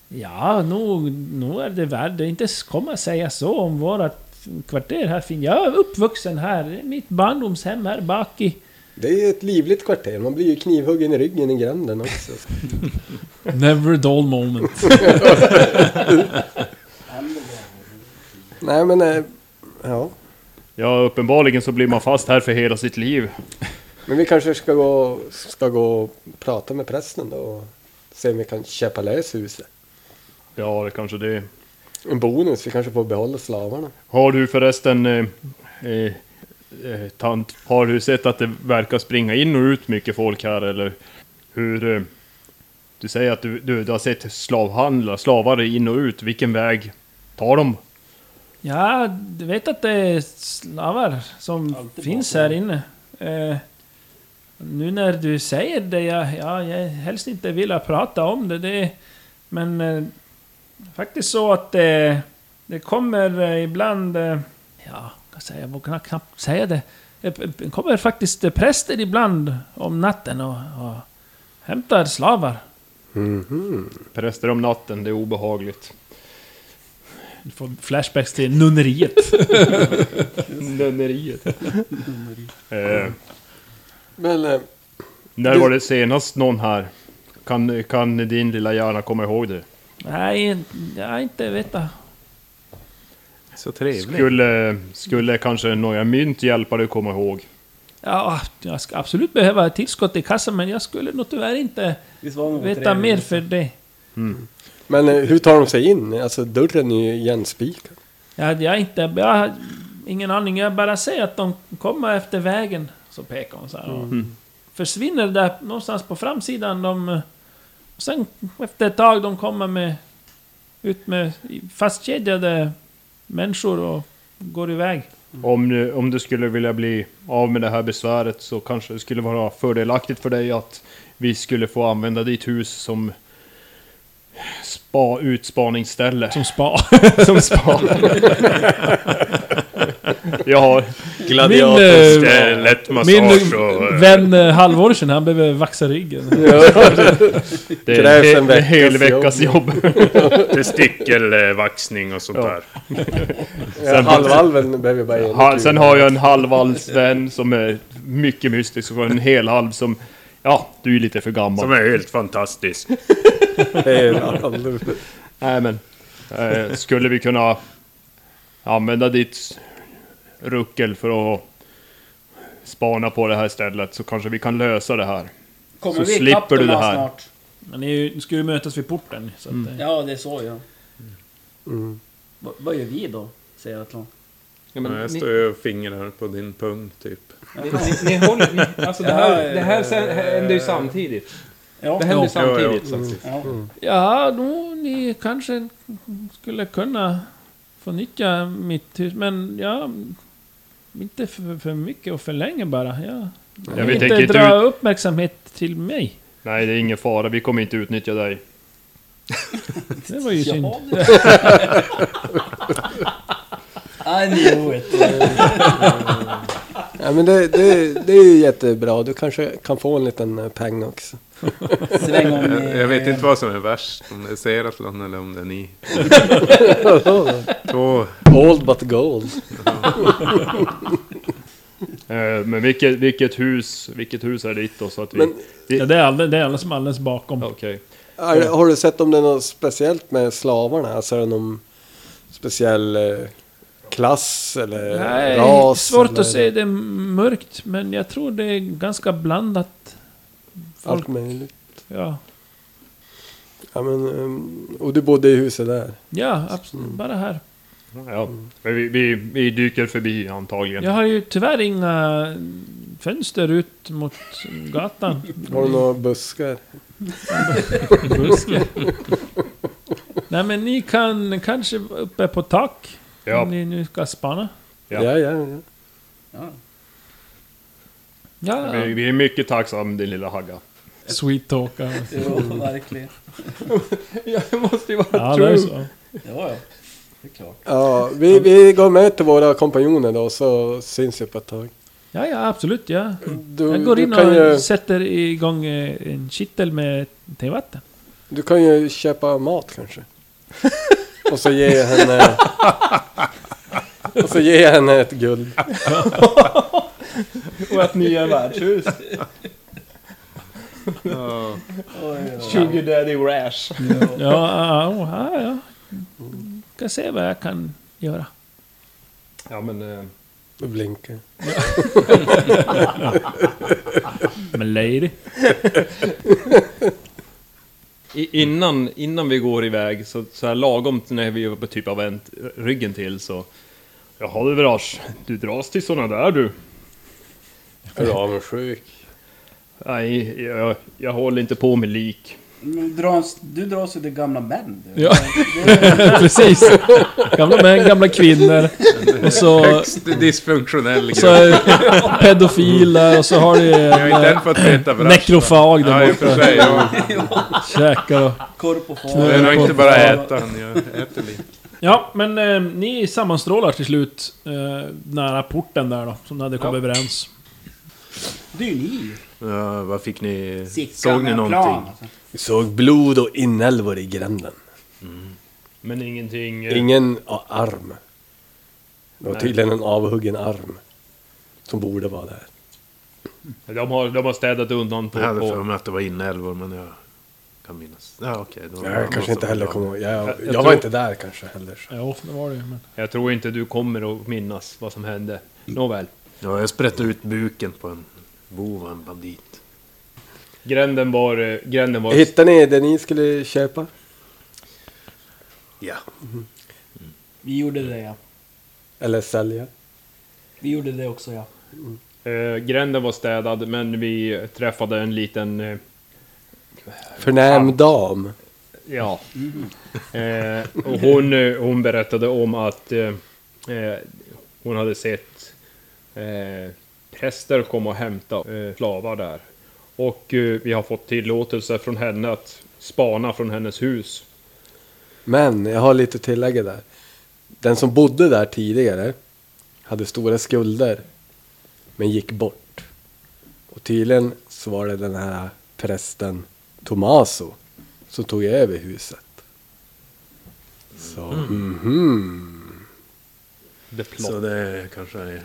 Speaker 2: Ja, nog, nog är det värt det. Inte komma säga så om vårat kvarter här. Fin. Jag är uppvuxen här. Det är Mitt barndomshem här bak i...
Speaker 3: Det är ett livligt kvarter. Man blir ju knivhuggen i ryggen i gränden också.
Speaker 2: Never dull moment.
Speaker 3: Nej men... eh, Ja.
Speaker 7: Ja, uppenbarligen så blir man fast här för hela sitt liv.
Speaker 3: Men vi kanske ska gå, ska gå och prata med prästen då och se om vi kan köpa lös huset.
Speaker 7: Ja, det kanske det.
Speaker 3: En bonus, vi kanske får behålla slavarna.
Speaker 7: Har du förresten, eh, eh, eh, tant, har du sett att det verkar springa in och ut mycket folk här eller hur? Eh, du säger att du, du, du har sett slavhandlare, slavar in och ut. Vilken väg tar de?
Speaker 2: Ja, du vet att det är slavar som finns här inne. Eh, nu när du säger det, jag, ja, jag helst inte vilja prata om det. det men eh, faktiskt så att eh, det kommer eh, ibland... Eh, ja, vad ska jag säga, jag kan knappt säga det. Det kommer faktiskt eh, präster ibland om natten och, och hämtar slavar.
Speaker 7: Präster om natten, det är obehagligt.
Speaker 2: Du får flashbacks till nunneriet.
Speaker 7: Nunneriet. eh,
Speaker 3: Men eh,
Speaker 7: när var det senast någon här? Kan, kan din lilla hjärna komma ihåg det?
Speaker 2: Nej, jag inte veta.
Speaker 10: Så trevligt.
Speaker 7: Skulle, skulle kanske några mynt hjälpa dig komma ihåg?
Speaker 2: Ja, jag ska absolut behöva ett tillskott i kassan, men jag skulle nog tyvärr inte
Speaker 6: Visst var hon
Speaker 2: veta
Speaker 6: trevlig?
Speaker 2: mer för det.
Speaker 3: Men eh, hur tar de sig in? Alltså dörren är ju igenspikad.
Speaker 2: Jag, jag, inte, jag har ingen aning, jag bara säger att de kommer efter vägen. Så pekar hon så här. och
Speaker 4: Mm.
Speaker 2: Försvinner där någonstans på framsidan. De, eh, och sen efter ett tag de kommer med, ut med fastkedjade människor och går iväg.
Speaker 7: Om, du- om du skulle vilja bli av med det här besväret så kanske det skulle vara fördelaktigt för dig att vi skulle få använda ditt hus som spa, utspaningsställe.
Speaker 2: Som spa.
Speaker 7: Som spa. Jag har
Speaker 3: eh,
Speaker 4: Det är lätt massage
Speaker 2: eh, Min
Speaker 4: och... eh,
Speaker 2: vän eh, halvår sedan, han behöver vaxa ryggen.
Speaker 7: det är
Speaker 3: Krävs
Speaker 7: he-
Speaker 3: en
Speaker 7: en hel
Speaker 3: veckas
Speaker 7: veckas jobb.
Speaker 4: Testikelvaxning och sånt där.
Speaker 3: Ja, Halvalven behöver bara en.
Speaker 7: Ha, sen har jag en halvhalsvän som är mycket mystisk och en helhalv som... Ja, du är lite för gammal.
Speaker 4: Som är helt fantastisk.
Speaker 7: Nej men, eh, skulle vi kunna använda ditt ruckel för att spana på det här stället så kanske vi kan lösa det här.
Speaker 6: Kommer
Speaker 7: Så
Speaker 6: vi ikapp
Speaker 7: slipper du
Speaker 6: dem
Speaker 7: det här.
Speaker 6: snart?
Speaker 2: Men ni nu ska ju mötas vid porten. Så att,
Speaker 7: Mm.
Speaker 2: eh,
Speaker 6: Mm. Ja, det är så ja. Va- vad gör vi då? Säger Atlan.
Speaker 11: Ja, men
Speaker 4: Nej, jag
Speaker 11: ni-
Speaker 4: står ju och fingrar på din pung typ.
Speaker 11: Ni, ni, ni håller... Ni, alltså det här, det här sen, händer ju samtidigt.
Speaker 2: Ja.
Speaker 11: Det händer
Speaker 4: Ja, ja, ja,
Speaker 11: samtidigt.
Speaker 4: samtidigt.
Speaker 6: Ja.
Speaker 2: Ja, då, ni kanske skulle kunna få nyttja mitt hus, men ja... Inte för, för mycket och för länge bara. Jag
Speaker 7: Ja,
Speaker 2: vill
Speaker 7: vi
Speaker 2: inte
Speaker 7: tänker inte
Speaker 2: dra
Speaker 7: ut...
Speaker 2: uppmärksamhet till mig.
Speaker 7: Nej, det är ingen fara. Vi kommer inte utnyttja dig.
Speaker 2: Det var ju synd.
Speaker 6: Ja, du. I knew it.
Speaker 3: Ja, men det, det, det är ju jättebra. Du kanske kan få en liten eh, peng också.
Speaker 6: Sväng om
Speaker 4: Jag,
Speaker 6: i-
Speaker 4: jag vet inte vad som är värst, om det är Seratlon eller om det är ni. Två
Speaker 3: Old but gold.
Speaker 7: Eh, Men vilket, vilket, hus, vilket hus är ditt då? Så att vi...
Speaker 3: Men
Speaker 2: Ja, det, är alldeles, det är alldeles som alldeles bakom.
Speaker 7: Okej.
Speaker 3: är, har du sett om det är något speciellt med slavarna? Alltså är det någon speciell eh, klass eller
Speaker 2: Nej,
Speaker 3: ras?
Speaker 2: svårt
Speaker 3: eller
Speaker 2: att se. Det är mörkt, men jag tror det är ganska blandat.
Speaker 3: Allt möjligt.
Speaker 2: Ja,
Speaker 3: Ja, men, ehm, och du bodde i huset där?
Speaker 2: ja absolut.
Speaker 7: Mm.
Speaker 2: Bara här.
Speaker 7: Ja, men vi, vi, vi dyker förbi antagligen.
Speaker 2: Jag har ju tyvärr inga fönster ut mot gatan.
Speaker 3: Har du några buskar?
Speaker 2: Buske. Nej, men ni kan kanske uppe på tak.
Speaker 7: Ja.
Speaker 2: Om ni nu ska spana.
Speaker 7: Ja.
Speaker 3: Ja, ja, ja.
Speaker 2: Ja,
Speaker 7: Vi, vi är mycket tacksamma din lilla Hagga.
Speaker 2: sweet talk. Ja,
Speaker 6: Jo, verkligen.
Speaker 11: Jag måste ju vara
Speaker 2: ja det
Speaker 11: true.
Speaker 2: är så.
Speaker 6: Ja, ja. Det är klart.
Speaker 3: ja vi, vi går med till våra kompanjoner då så syns vi på ett tag.
Speaker 2: Ja, ja, absolut. Ja.
Speaker 3: Du,
Speaker 2: Jag går
Speaker 3: du,
Speaker 2: in
Speaker 3: kan ju,
Speaker 2: och sätter igång eh, en kittel med tevatten.
Speaker 3: du kan ju köpa mat kanske. och så ge henne... och så ge henne ett guld.
Speaker 11: Och ett nya värdshus.
Speaker 6: Oj, oj, oj.
Speaker 11: Sugar Daddy Rash.
Speaker 2: Ja, ja, ja. Jag ska se vad jag kan göra.
Speaker 7: Ja, men... eh,
Speaker 3: Och blinka.
Speaker 2: Men lady.
Speaker 11: I, innan, innan vi går iväg, så, så här lagom till när vi typ har vänt ryggen till så...
Speaker 7: Jaha du Vrash, du dras till sådana där du.
Speaker 3: Är du avundsjuk?
Speaker 7: Nej, jag, jag håller inte på med lik.
Speaker 6: Men Mm, dras- Du dras ju till gamla män. Du.
Speaker 2: Ja. Precis. Gamla män, gamla kvinnor. Och så,
Speaker 4: högst dysfunktionell
Speaker 2: så
Speaker 4: grupp.
Speaker 2: är pedofiler och så har du
Speaker 4: Jag har inte än fått veta
Speaker 2: en
Speaker 4: Vrash.
Speaker 2: nekrofag
Speaker 4: Ja, i
Speaker 2: där
Speaker 4: och för
Speaker 2: borta.
Speaker 4: sig. Ja.
Speaker 2: Käkar och...
Speaker 6: Korp och far.
Speaker 4: Det är nog inte bara äta. Jag äter lite.
Speaker 2: Ja, men eh, ni sammanstrålar till slut eh, nära porten där då, som ni hade kommit överens.
Speaker 6: Det är ju ni.
Speaker 4: Ja, vad fick ni?
Speaker 6: Sickan
Speaker 4: såg ni
Speaker 6: med
Speaker 4: någonting?
Speaker 6: plan, alltså.
Speaker 3: Vi såg blod och inälvor i gränden.
Speaker 7: Men ingenting... eh,
Speaker 3: Ingen a- arm. Det var tydligen en avhuggen arm. Som borde vara där.
Speaker 7: De, har, de har städat undan på...
Speaker 4: Jag hade för
Speaker 7: på
Speaker 4: mig att det var inälvor, men jag kan minnas. Ja, okej. då var det
Speaker 3: Jag kanske
Speaker 4: någon
Speaker 3: inte
Speaker 4: som-
Speaker 3: heller kommer ihåg. Jag, jag,
Speaker 7: jag
Speaker 3: var
Speaker 7: tror-
Speaker 3: inte där kanske heller. så.
Speaker 2: Ja, det var det ju. Men...
Speaker 7: jag tror inte du kommer att minnas vad som hände. Nåväl.
Speaker 4: Ja, jag sprättade ut buken på en bov och en bandit.
Speaker 7: Gränden var... eh, Gränden var...
Speaker 3: Hittade ni det ni skulle köpa?
Speaker 4: Ja.
Speaker 6: Vi gjorde det ja.
Speaker 3: Eller sälja?
Speaker 6: Vi gjorde det också ja.
Speaker 7: Eh, gränden var städad, men vi träffade en liten... Eh,
Speaker 3: Förnäm dam.
Speaker 7: Ja. Eh, och hon, eh, hon berättade om att eh, eh, hon hade sett eh, präster komma och hämta eh, slavar där. Och eh, vi har fått tillåtelse från henne att spana från hennes hus.
Speaker 3: Men jag har lite att tillägga där. Den som bodde där tidigare hade stora skulder. Men gick bort. Och tydligen så var det den här prästen Tomaso som tog över huset. Så,
Speaker 4: Mm.
Speaker 3: mhm.
Speaker 7: The plot.
Speaker 4: Så det kanske är...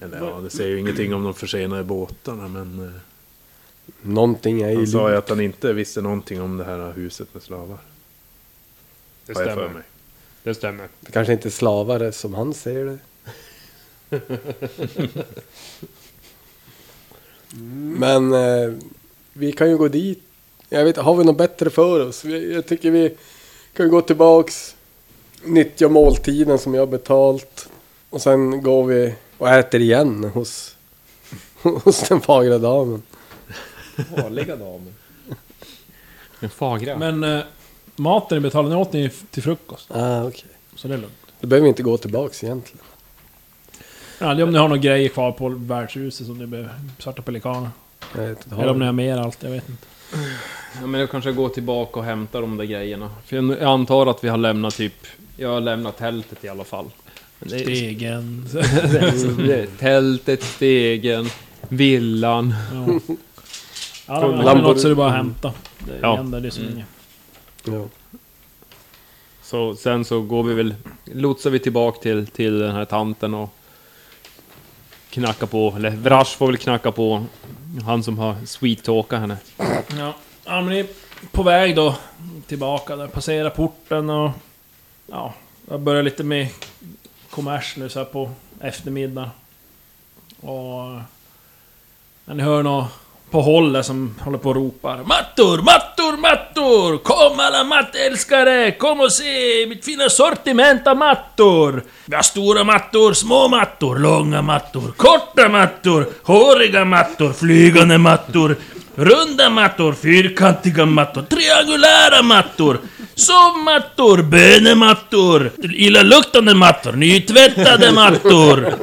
Speaker 4: Eller ja, det säger ju ingenting om de försenade båtarna, men... eh,
Speaker 3: Någonting är ju
Speaker 4: Han sa ju
Speaker 3: lurt.
Speaker 4: att han inte visste någonting om det här huset med slavar.
Speaker 7: det
Speaker 4: har jag för
Speaker 7: stämmer.
Speaker 4: mig.
Speaker 7: Det stämmer.
Speaker 3: Det kanske inte är slavare som han säger det. Men eh, vi kan ju gå dit. Jag vet, har vi något bättre för oss? Vi, jag tycker vi kan ju gå tillbaks, nyttja måltiden som jag har betalt Och sen går vi och äter igen hos, hos den fagra damen.
Speaker 9: Vanliga damen.
Speaker 7: Den fagra.
Speaker 2: Men eh, maten betalade ni åt ni till frukost,
Speaker 3: Ah, okej.
Speaker 2: så det är lugnt.
Speaker 3: Då behöver vi inte gå tillbaks egentligen.
Speaker 2: Ja, det är om ni har några grejer kvar på värdshuset som ni behöver. Svarta pelikaner.
Speaker 3: Jag vet inte,
Speaker 2: Eller om ni har
Speaker 3: har...
Speaker 2: mer allt, jag vet inte.
Speaker 7: Ja, men jag kanske går tillbaka och hämtar de där grejerna. För jag jag antar att vi har lämnat typ... Jag har lämnat tältet i alla fall. Men det är-
Speaker 2: Stegen.
Speaker 7: det är Tältet, stegen, villan.
Speaker 2: Ja. Ja, men har ni
Speaker 3: Lamborghini.
Speaker 2: något så är det bara att hämta. Mm. Det
Speaker 7: Ja.
Speaker 2: händer, det är så
Speaker 7: Mm.
Speaker 2: länge.
Speaker 3: ja.
Speaker 7: Så sen så går vi väl... Lotsar vi tillbaka till, till den här tanten och... Knacka på, eller Vrash får väl knacka på. Han som har sweet-talkat henne.
Speaker 2: Ja. ja, men ni är på väg då tillbaka där, passerar porten och... Ja, jag börjar lite med kommers nu så här på eftermiddag. Och... Men ni hör någon på håll där som håller på och ropar Mattor, mattor, mattor! Kom alla mattälskare! Kom och se mitt fina sortiment av mattor! Vi har stora mattor, små mattor, långa mattor, korta mattor, håriga mattor, flygande mattor, runda mattor, fyrkantiga mattor, triangulära mattor, sovmattor, bönemattor, illaluktande mattor, nytvättade mattor,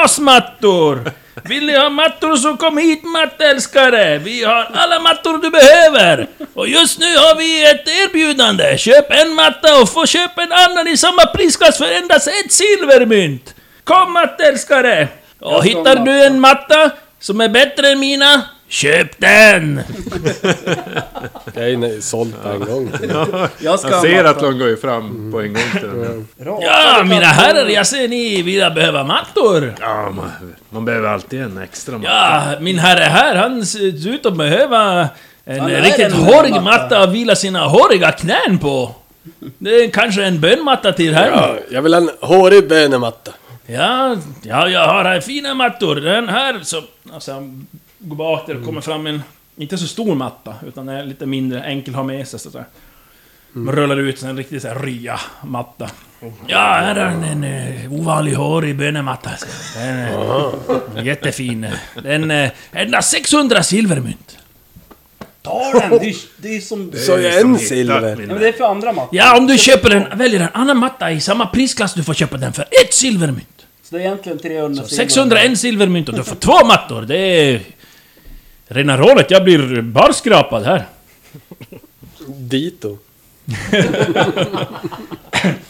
Speaker 2: trasmattor. Vill ni ha mattor så kom hit mattälskare! Vi har alla mattor du behöver! Och just nu har vi ett erbjudande! Köp en matta och få köpa en annan i samma prisklass för endast ett silvermynt! Kom mattälskare! Och hittar du en matta som är bättre än mina, köp den!
Speaker 3: Jag är nö- såld på en gång.
Speaker 6: Jag ska
Speaker 8: Jag ser att de går ju fram på en gång till den här.
Speaker 2: Mm. Ja, mina herrar, jag ser ni vill behöva mattor!
Speaker 4: Ja, man, man behöver alltid en extra man.
Speaker 2: Ja, min herre här, han ser ut att behöva en
Speaker 6: Han är
Speaker 2: riktigt
Speaker 6: en
Speaker 2: hårig
Speaker 6: matta.
Speaker 2: matta att vila sina håriga knän på. Det är kanske en bönmatta till här. Ja.
Speaker 3: Ja, jag vill ha en hårig bönematta.
Speaker 2: ja, jag har här fina mattor. Den här som... Alltså, han går bak där och kommer fram en... Inte så stor matta, utan en lite mindre, enkel att ha med sig. Så att säga. Man rullar ut en riktig så här rya matta. Ja, här är en, en eh, ovanlig hårig bönematta. Den, eh, jättefin. Den... eh, Endast 600 silvermynt.
Speaker 6: ta den! Det är, det är som...
Speaker 3: Så
Speaker 4: Det är
Speaker 3: jag
Speaker 4: som
Speaker 3: en
Speaker 4: hittat
Speaker 3: silver.
Speaker 4: min-
Speaker 6: Ja, men det är för andra mattor.
Speaker 2: Ja, om du köper en, väljer en annan matta i samma prisklass, du får köpa den för ett silvermynt.
Speaker 6: Så det är egentligen 300 silver.
Speaker 2: 601 silvermynt och du får två mattor, det är... Rena rådet, jag blir barskrapad här.
Speaker 3: Dito.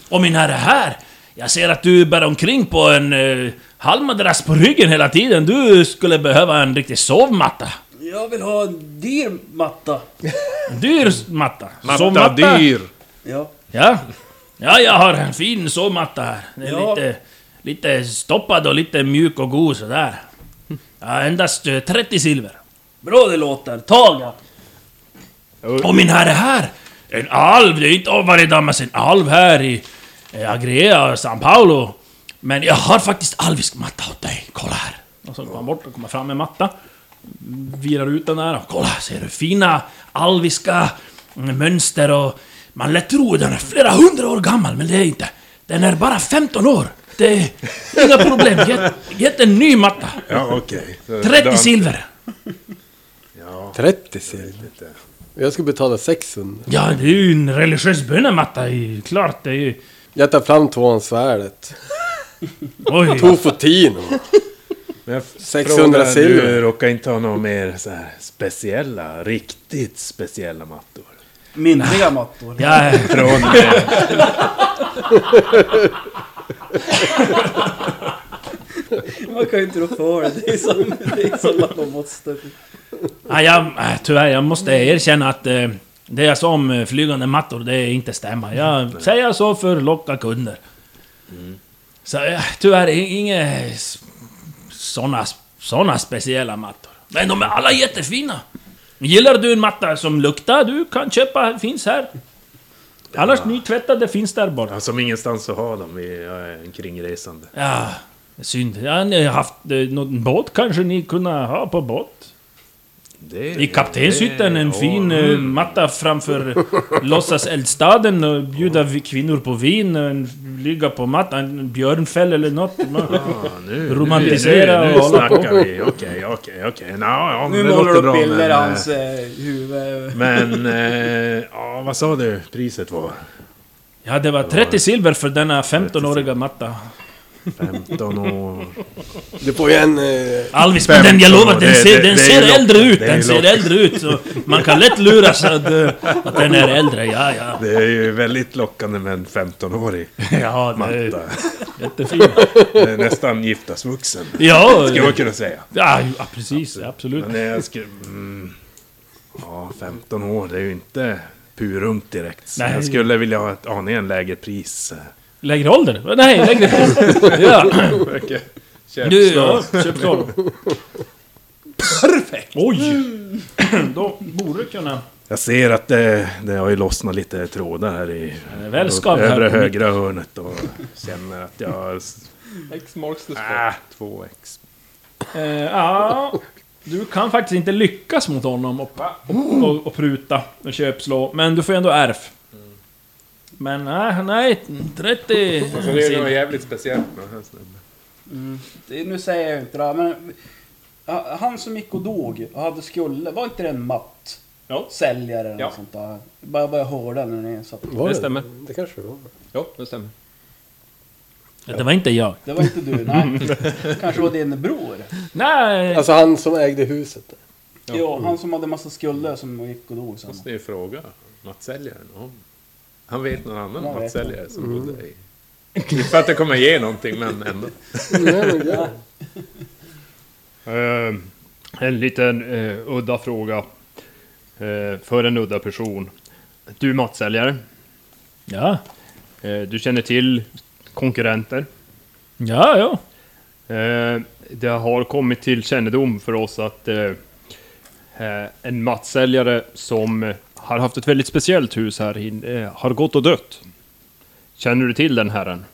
Speaker 2: Och min herre här, jag ser att du bär omkring på en eh, halmadrass på ryggen hela tiden. Du skulle behöva en riktig sovmatta.
Speaker 6: Jag vill ha en dyr matta.
Speaker 2: En dyr matta.
Speaker 8: Matta dyr.
Speaker 6: Ja.
Speaker 2: Ja. Ja, jag har en fin sovmatta här. Den är
Speaker 6: Ja.
Speaker 2: lite, lite stoppad och lite mjuk och god sådär. Ja, endast eh, 30 silver.
Speaker 6: Bra det låter. Taga!
Speaker 2: Och min herre här! En alv! Det är inte varje dammas en alv här i eh, Agrea, São Paulo. Men jag har faktiskt alvisk matta åt dig. Kolla här! Och så går han bort och kommer fram med matta. Virar ut den där och kolla, ser du? Fina alviska mm, mönster och... Man lät tro den är flera hundra år gammal, men det är inte. Den är bara 15 år. Det är inga problem. Get, get en ny matta.
Speaker 4: Ja, okej. Så
Speaker 2: 30
Speaker 4: Dan-
Speaker 2: silver.
Speaker 3: 30 silver. Jag ska betala 600.
Speaker 2: Ja, det är ju en religiös bönematta. det är ju Klart, det är ju...
Speaker 3: Jag tar fram tvåansvärdet.
Speaker 2: Oj.
Speaker 3: Tofotino.
Speaker 4: Men jag
Speaker 3: 600
Speaker 4: frågar,
Speaker 3: silver.
Speaker 4: Du råkar inte ha några mer så här speciella, riktigt speciella mattor?
Speaker 6: Mindriga mattor.
Speaker 2: Ja, eh,
Speaker 4: Från...
Speaker 6: Man kan ju inte rå för det. Det är som, det är som att de måste...
Speaker 2: ja, jag, äh, tyvärr, jag måste erkänna att eh, det jag sa om eh, flygande mattor, det inte stämmer. Jag säger så för att locka kunder. Så eh, tyvärr, i- inga s- såna, såna speciella mattor. Men de är alla jättefina! Gillar du en matta som luktar, du kan köpa, finns här. Annars nytvättade finns där bara.
Speaker 4: Ja, som ingenstans att ha dem. Vi är en kringresande.
Speaker 2: Ja, synd. Ja, ni har haft eh, någon båt kanske ni kunde ha på båt?
Speaker 4: Det,
Speaker 2: I kaptenshytten, en
Speaker 4: det-
Speaker 2: fin
Speaker 4: ja,
Speaker 2: eh,
Speaker 4: mm.
Speaker 2: matta framför låtsaseldstaden och bjuda vi- kvinnor på vin, och en- ligga på mattan, en björnfäll eller något. Man-
Speaker 4: Ja, nu,
Speaker 2: romantisera
Speaker 4: nu, nu,
Speaker 2: och
Speaker 4: nu
Speaker 2: hålla på.
Speaker 4: snackar vi. Okej, okej, okej. Nå, ja, men
Speaker 6: Nu
Speaker 4: det
Speaker 6: målar
Speaker 4: låter
Speaker 6: du
Speaker 4: bra,
Speaker 6: upp bilder
Speaker 4: men,
Speaker 6: av
Speaker 4: eh,
Speaker 6: hans eh, huvud.
Speaker 4: Men, eh, ja, vad sa du priset var?
Speaker 2: Ja, det var 30 silver för denna 15-åriga matta.
Speaker 4: 15 år.
Speaker 3: Du får ju en... Eh,
Speaker 2: Alvis, men den jag lovar, den
Speaker 4: Det-
Speaker 2: ser,
Speaker 4: det-
Speaker 2: den
Speaker 4: det är
Speaker 2: ser
Speaker 4: locket,
Speaker 2: äldre ut!
Speaker 4: det är
Speaker 2: Den ser
Speaker 4: locket.
Speaker 2: äldre ut! Så man kan lätt luras att, eh, att den är äldre, ja ja.
Speaker 4: Det är ju väldigt lockande med en 15-årig
Speaker 2: Ja, det är
Speaker 4: matta.
Speaker 2: jättefin.
Speaker 4: Det är nästan giftasvuxen,
Speaker 2: Ja,
Speaker 4: skulle man kunna säga.
Speaker 2: ja, ja, precis, absolut.
Speaker 4: Men jag skulle... Mm, ja, 15 år, det är ju inte purumt direkt. Så
Speaker 2: Nej.
Speaker 4: Jag skulle vilja ha ett aningen lägre pris.
Speaker 2: Lägre ålder? Nej, lägre pris! Ja. Du, ja, köpslå. Perfekt! Oj!
Speaker 4: Mm.
Speaker 2: Då borde du kunna...
Speaker 4: Jag ser att det, det har ju lossnat lite trådar här i
Speaker 2: Väl skav
Speaker 4: övre
Speaker 2: här.
Speaker 4: högra hörnet och känner att jag...
Speaker 12: X marks the
Speaker 4: Ah, 2x.
Speaker 2: Eh, ja, du kan faktiskt inte lyckas mot honom och, och, och, och pruta och köpslå, men du får ju ändå ärf. Men nej, nej 30...
Speaker 4: Så det är ju något jävligt speciellt med den här snubben.
Speaker 6: Det, nu säger jag inte det här, men... ja, Han som gick och dog och hade skulder, var inte det en matt?
Speaker 12: Ja.
Speaker 6: Säljare eller
Speaker 12: Ja.
Speaker 6: något sånt där. Bara vad jag hörde när ni satt.
Speaker 3: var
Speaker 12: Det stämmer.
Speaker 3: Det kanske det var.
Speaker 12: Ja, det stämmer.
Speaker 2: Ja, det var inte jag.
Speaker 6: Det var inte du, nej. Kanske var din bror?
Speaker 2: Nej!
Speaker 3: Alltså han som ägde huset.
Speaker 6: Ja, han som hade massa skulder som gick och dog sen.
Speaker 4: Måste ni fråga mattsäljaren om... Han vet någon annan
Speaker 6: Jag vet
Speaker 4: mattsäljare som bodde i... Inte för att det kommer ge någonting, men ändå.
Speaker 7: Eh, en liten eh, udda fråga. Eh, för en udda person. Du mattsäljare,
Speaker 2: Ja,
Speaker 7: eh, du känner till konkurrenter.
Speaker 2: ja, ja.
Speaker 7: Eh, det har kommit till kännedom för oss att eh, eh, en mattsäljare som eh, har haft ett väldigt speciellt hus här inne eh, har gått och dött. Känner du till den herren?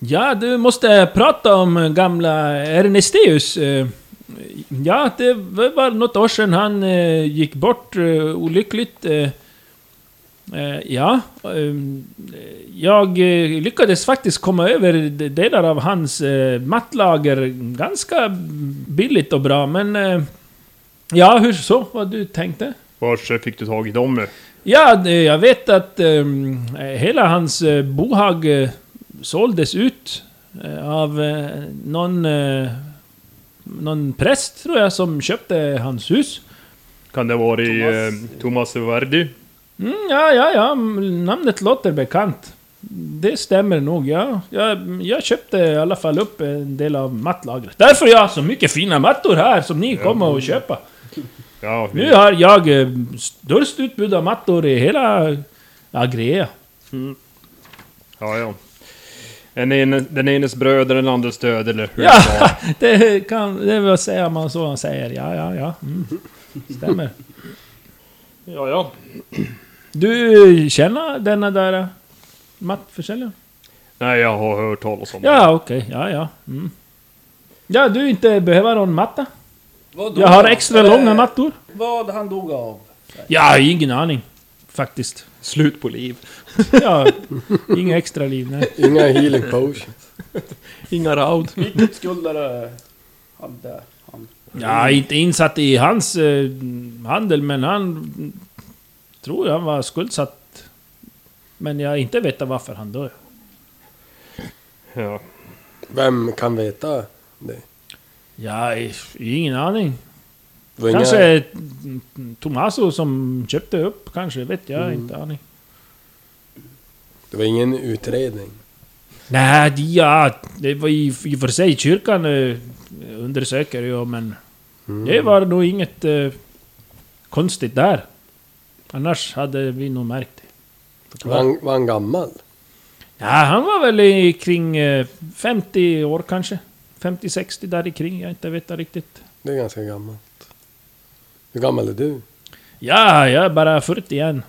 Speaker 2: Ja, du måste prata om gamla Ernesteus. eh, Ja, det var något år sedan han eh, gick bort eh, olyckligt. eh. Eh, Ja, eh, jag eh, lyckades faktiskt komma över de- delar av hans eh, mattlager ganska billigt och bra, men... eh, Ja, hur så? Vad du tänkte?
Speaker 7: Vars eh, fick du tag i dem? eh?
Speaker 2: Ja, det- jag vet att ehm, hela hans eh, bohag eh, såldes ut eh, av eh, någon, eh, någon präst, tror jag, som köpte hans hus.
Speaker 7: Kan det vara i eh, Thomas Verdi?
Speaker 2: Mm, ja, ja, ja, m- namnet låter bekant. Det stämmer nog, ja. Jag, jag köpte i alla fall upp en del av mattlagret. Därför har jag så mycket fina mattor här som ni kommer att köpa.
Speaker 7: Ja, vi-
Speaker 2: Nu har jag eh, störst utbud av mattor i hela Agrea.
Speaker 7: Ja, ja. En ene, den enes bröd är den andres död, eller hur
Speaker 2: Ja,
Speaker 7: det var.
Speaker 2: det kan... Det vill säga man så han säger. Ja, ja, ja. Mm. Stämmer.
Speaker 7: Ja, ja.
Speaker 2: Du känner denna där eh, mattförsäljaren?
Speaker 12: Mm.
Speaker 7: Nej, jag har hört talas om
Speaker 2: Ja, okej. Ja, ja. Mm. Ja, du inte behöver någon matta?
Speaker 6: Vad dog
Speaker 2: Jag har
Speaker 6: han?
Speaker 2: extra
Speaker 6: Eh,
Speaker 2: långa mattor.
Speaker 6: Vad han dog av?
Speaker 2: Ja, ingen aning. Faktiskt.
Speaker 12: Slut på liv.
Speaker 2: Ja, inga extra liv, nej.
Speaker 3: Inga healing potions.
Speaker 12: Inga raud.
Speaker 6: Vilket skulder eh, hade han?
Speaker 2: Ja, inte insatt i hans eh, handel, men han... mm, Tror han var skuldsatt. Men jag inte vet varför han dör.
Speaker 7: det. Ja.
Speaker 3: Vem kan veta det?
Speaker 2: Ja, i- ingen aning.
Speaker 3: Det var
Speaker 2: Kanske
Speaker 3: Inga,
Speaker 2: mm, Tommaso som köpte upp, kanske. Vet jag inte. Aning.
Speaker 3: det var ingen utredning.
Speaker 2: Nej, det- ja, det var i, i och för sig kyrkan eh, undersöker ju, men det var nog inget eh, konstigt där. Annars hade vi nog märkt det.
Speaker 3: Var han, var han gammal?
Speaker 2: Ja, han var väl i, kring eh, 50 år kanske. 50-60 där i kring, jag inte vet riktigt.
Speaker 3: Det är ganska gammalt. Hur gammal är du?
Speaker 2: Ja, jag är bara 40 igen.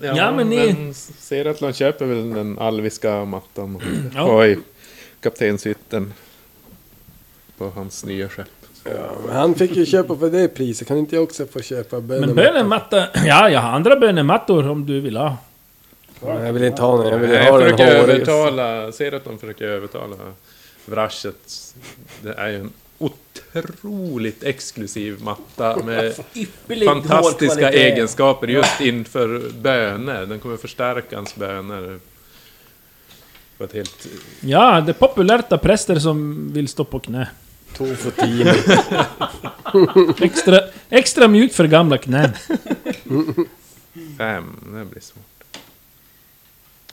Speaker 4: Ja,
Speaker 2: men ni-
Speaker 4: Ser att de köper väl den alviska mattan och
Speaker 2: Ja.
Speaker 4: har i kaptenshytten. På hans nya skepp.
Speaker 3: Ja, men han fick ju köpa för det priset, kan inte jag också få köpa
Speaker 2: Men
Speaker 3: bönematta?
Speaker 2: bönemattor... Ja, jag har andra bönemattor om du vill ha.
Speaker 3: Nej, jag vill inte ha någon, jag vill
Speaker 4: Nej,
Speaker 3: ha
Speaker 4: jag
Speaker 3: den
Speaker 4: försöker
Speaker 3: håriga.
Speaker 4: övertala, ser att de försöker övertala Vraschet. Det är ju en otroligt exklusiv matta med
Speaker 6: Ypperlig
Speaker 4: fantastiska
Speaker 6: hårkvalitet.
Speaker 4: egenskaper just inför böner. Den kommer förstärka hans böner. På ett helt...
Speaker 2: Ja, det är populärt av präster som vill stå på knä.
Speaker 3: Tofotini.
Speaker 2: Extra, extra mjukt för gamla knän.
Speaker 4: Fem, det blir svårt.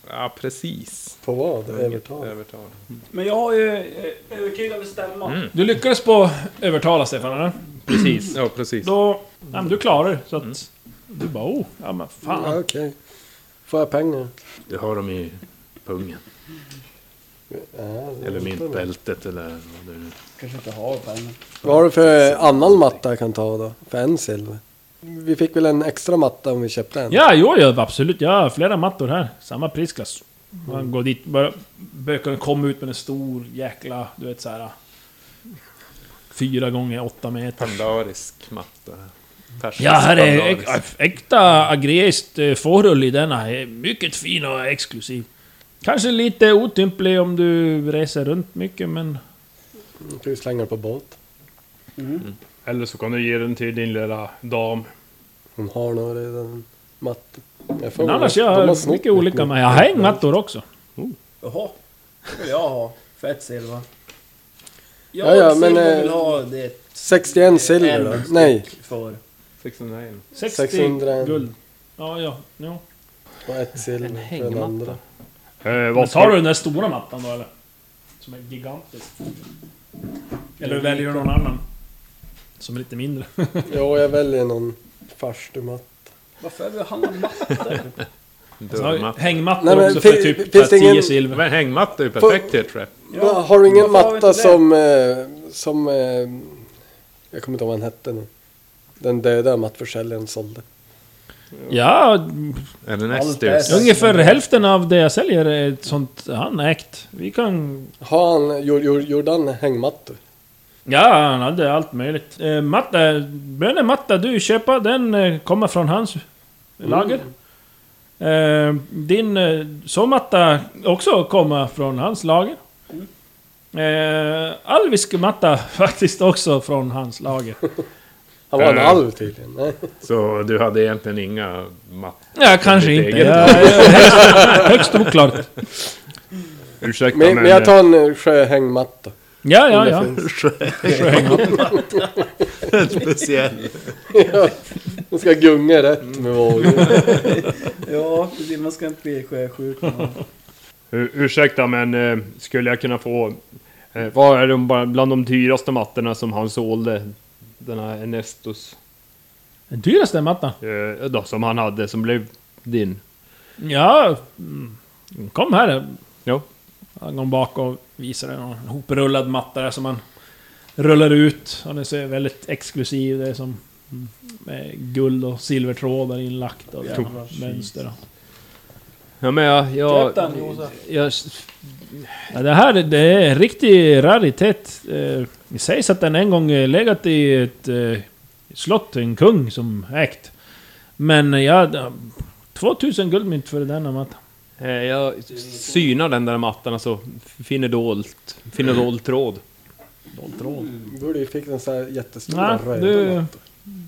Speaker 4: Ja, precis.
Speaker 3: På vad? Övertal?
Speaker 4: Övertala.
Speaker 6: Men jag har ju eh, övertygande stämma.
Speaker 2: Du lyckades på övertala Stefan, eller?
Speaker 4: Precis. Ja, precis.
Speaker 2: Då... Ja, men du klarar det, så att... Du bara oh, ja men fan.
Speaker 3: Ja, okej. Får jag pengar?
Speaker 4: Du har dem i pungen.
Speaker 3: Ja,
Speaker 4: Eller myntbältet eller vad det nu
Speaker 6: Kanske inte har pengar.
Speaker 3: Vad har du för annan matta jag kan ta då? För en silver? Vi fick väl en extra matta om vi köpte en?
Speaker 2: Ja, jo, ja, absolut. Jag har flera mattor här. Samma prisklass. Man går dit, bara... Böckerna kom ut med en stor jäkla, du vet såhär... Fyra gånger åtta meter.
Speaker 4: Pandarisk matta. Persisk
Speaker 2: Ja, här är
Speaker 4: pandarisk.
Speaker 2: äk, äkta agreskt eh, fårull i denna. Eh, Mycket fin och exklusiv. Kanske lite otymplig om du reser runt mycket, men...
Speaker 3: Kan vi slänga den på båt?
Speaker 7: Eller så kan du ge den till din lilla dam.
Speaker 3: Hon har nog redan matta. Jag får
Speaker 2: men
Speaker 3: väl-
Speaker 2: annars,
Speaker 3: de
Speaker 2: jag
Speaker 3: har
Speaker 2: har
Speaker 3: snott
Speaker 2: mycket olika. Men jag har hängmattor också.
Speaker 6: Jaha. Det vill jag ha. Fett silver.
Speaker 3: Ja, ja,
Speaker 6: Jag ja,
Speaker 3: men, eh,
Speaker 6: silver vill ha det.
Speaker 3: 61 silver
Speaker 6: en
Speaker 3: då?
Speaker 6: styck
Speaker 3: Nej,
Speaker 6: För.
Speaker 4: 601.
Speaker 2: 60
Speaker 3: 600.
Speaker 2: guld. Ja, ja. Jo.
Speaker 3: och ett silver för den
Speaker 13: hängmatta.
Speaker 3: andra.
Speaker 7: Eh,
Speaker 2: Men
Speaker 7: vad
Speaker 2: tar du
Speaker 7: ska...
Speaker 2: den där stora mattan då, eller? Som är gigantisk. Eller väljer du någon annan? Som är lite mindre.
Speaker 3: Jo, jag väljer någon farstumatta.
Speaker 6: Varför vill han ha mattor?
Speaker 2: Sen har
Speaker 4: Dörrmatta.
Speaker 2: vi hängmattor
Speaker 3: Nej, men
Speaker 2: också för
Speaker 3: fin-
Speaker 2: typ
Speaker 3: finns det
Speaker 2: 10
Speaker 3: ingen-
Speaker 2: silver.
Speaker 4: Men hängmatta är ju perfekt till ett rep.
Speaker 3: Ja, har du ingen
Speaker 6: varför har vi
Speaker 3: matta
Speaker 6: inte det?
Speaker 3: som... Eh, som eh, jag kommer inte ihåg vad han hette nu. Den döda mattförsäljaren sålde.
Speaker 2: Ja, alltså-
Speaker 4: Eller
Speaker 6: Allt
Speaker 4: näst
Speaker 6: är
Speaker 4: ut.
Speaker 6: så.
Speaker 2: ungefär hälften av det jag säljer är ett sånt han ägt. Vi kan
Speaker 3: Har han, gjorde, gjorde- gjorde han hängmattor?
Speaker 2: Ja, han hade allt möjligt. Eh, matta, bönematta du köper, den eh, kommer från hans lager.
Speaker 3: Mm.
Speaker 2: Eh, din eh, sovmatta också kommer från hans lager.
Speaker 3: Mm.
Speaker 2: Eh, alvisk matta faktiskt också från hans lager.
Speaker 3: Han var en
Speaker 4: Eh.
Speaker 3: alv tydligen. Nej.
Speaker 4: Så du hade egentligen inga mattor?
Speaker 2: Ja, kanske
Speaker 4: ditt
Speaker 2: inte.
Speaker 4: eget.
Speaker 2: Ja, ja, högst, högst oklart.
Speaker 7: Ursäkta
Speaker 3: Men,
Speaker 7: men...
Speaker 3: men jag tar en eh, sjöhängmatta.
Speaker 2: Ja,
Speaker 3: om
Speaker 2: ja,
Speaker 3: det
Speaker 2: ja.
Speaker 3: finns.
Speaker 4: Speciellt.
Speaker 3: ja. Den ska gunga rätt med vågor.
Speaker 6: ja, precis. Man ska inte bli sjösjuk.
Speaker 7: Ur- Ursäkta men eh, skulle jag kunna få... Eh, vad är de bara- bland de dyraste mattorna som han sålde? Den här Enestos.
Speaker 2: Den dyraste mattan.
Speaker 7: Eh, då, som han hade som blev din.
Speaker 2: Ja, mm, kom här.
Speaker 7: Ja.
Speaker 2: Han går bak och visar en hoprullad matta där som man rullar ut. Och den ser väldigt exklusiv Det är som mm, med guld och silvertrådar inlagt och jävla mönster. och-
Speaker 7: Ja men jag... jag, jag
Speaker 2: Ja, det här det är en riktig raritet. Eh, Det sägs att den en gång eh, legat i ett eh, slott, en kung som ägt. Men eh, ja, det- 2000 guldmynt för denna matta.
Speaker 7: eh, jag synar den där mattan alltså. Finner dolt... Finner dold tråd.
Speaker 3: Borde ju fick den så här jättestora
Speaker 2: Nej,
Speaker 3: röda.
Speaker 2: du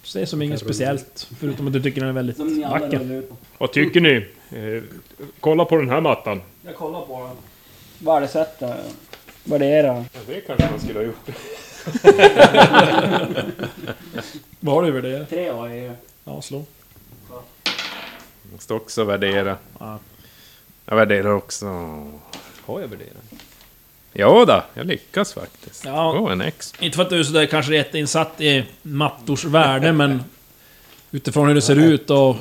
Speaker 2: ser som inget speciellt. Förutom att du tycker den är väldigt
Speaker 6: Som ni alla
Speaker 2: vacker.
Speaker 6: rullar ut på.
Speaker 7: Vad tycker ni? Eh, kolla på den här mattan.
Speaker 6: Jag kollar på den. Värdesätta. Värdera.
Speaker 7: Det kanske man skulle ha gjort.
Speaker 2: Vad har du över det?
Speaker 6: Tre har jag ju.
Speaker 2: Ja, slå.
Speaker 4: Måste också värdera.
Speaker 2: Ja.
Speaker 4: Jag värderar också.
Speaker 7: Har jag värderat?
Speaker 4: Ja då, jag lyckas faktiskt.
Speaker 2: Ja.
Speaker 4: Åh, en X.
Speaker 2: Inte för att du är sådär kanske jätteinsatt i mattors värde, men utifrån hur det ser ut och...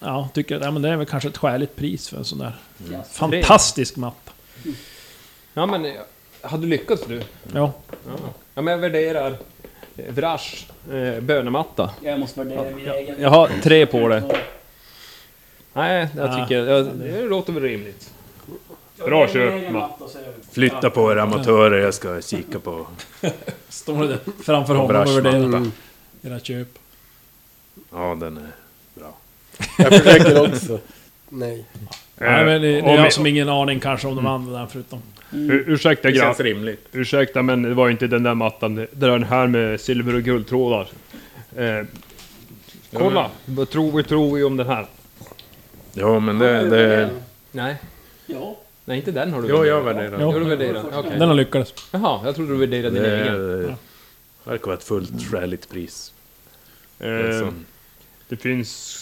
Speaker 2: Ja, tycker att ja, men det är väl kanske ett skäligt pris för en sån där fantastisk matta.
Speaker 7: Ja men... eh, Hade du lyckats du?
Speaker 2: Ja.
Speaker 7: Ja men jag värderar... eh, Vrash eh, bönematta.
Speaker 6: Jag måste värdera min egen.
Speaker 7: Jag har Ah. tre på det. Nej, jag tycker... Jag, det låter väl rimligt.
Speaker 5: Bra köp, Matt.
Speaker 4: Flytta på er amatörer, jag ska kika på...
Speaker 2: Står det där framför honom och
Speaker 4: Braschmattan.
Speaker 2: värderar era köp.
Speaker 4: Ja, den är...
Speaker 3: Jag försöker också. Nej.
Speaker 2: Nej men det, det
Speaker 5: om
Speaker 2: är
Speaker 5: vi-
Speaker 2: jag som ingen aning kanske om de andra där förutom.
Speaker 5: Ur- Ursäkta
Speaker 8: Det
Speaker 5: grabbar.
Speaker 8: känns rimligt.
Speaker 5: Ursäkta men det var ju inte den där mattan. Det det var den här med silver och guldtrådar. Eh, kolla, vad tror vi, tror vi om den här?
Speaker 4: Jo, men det... det...
Speaker 7: Nej,
Speaker 6: Ja.
Speaker 7: nej inte den har du
Speaker 8: Jo, jag
Speaker 7: värderat.
Speaker 8: värderar.
Speaker 2: Jo.
Speaker 7: Har du värderat? Okej.
Speaker 2: Den har lyckats.
Speaker 7: Jaha, jag trodde du värderade din
Speaker 4: Det
Speaker 7: egen.
Speaker 4: eh, verkar vara ett fullt skäligt pris. Alltså,
Speaker 5: Eh,
Speaker 4: Som-
Speaker 5: det finns...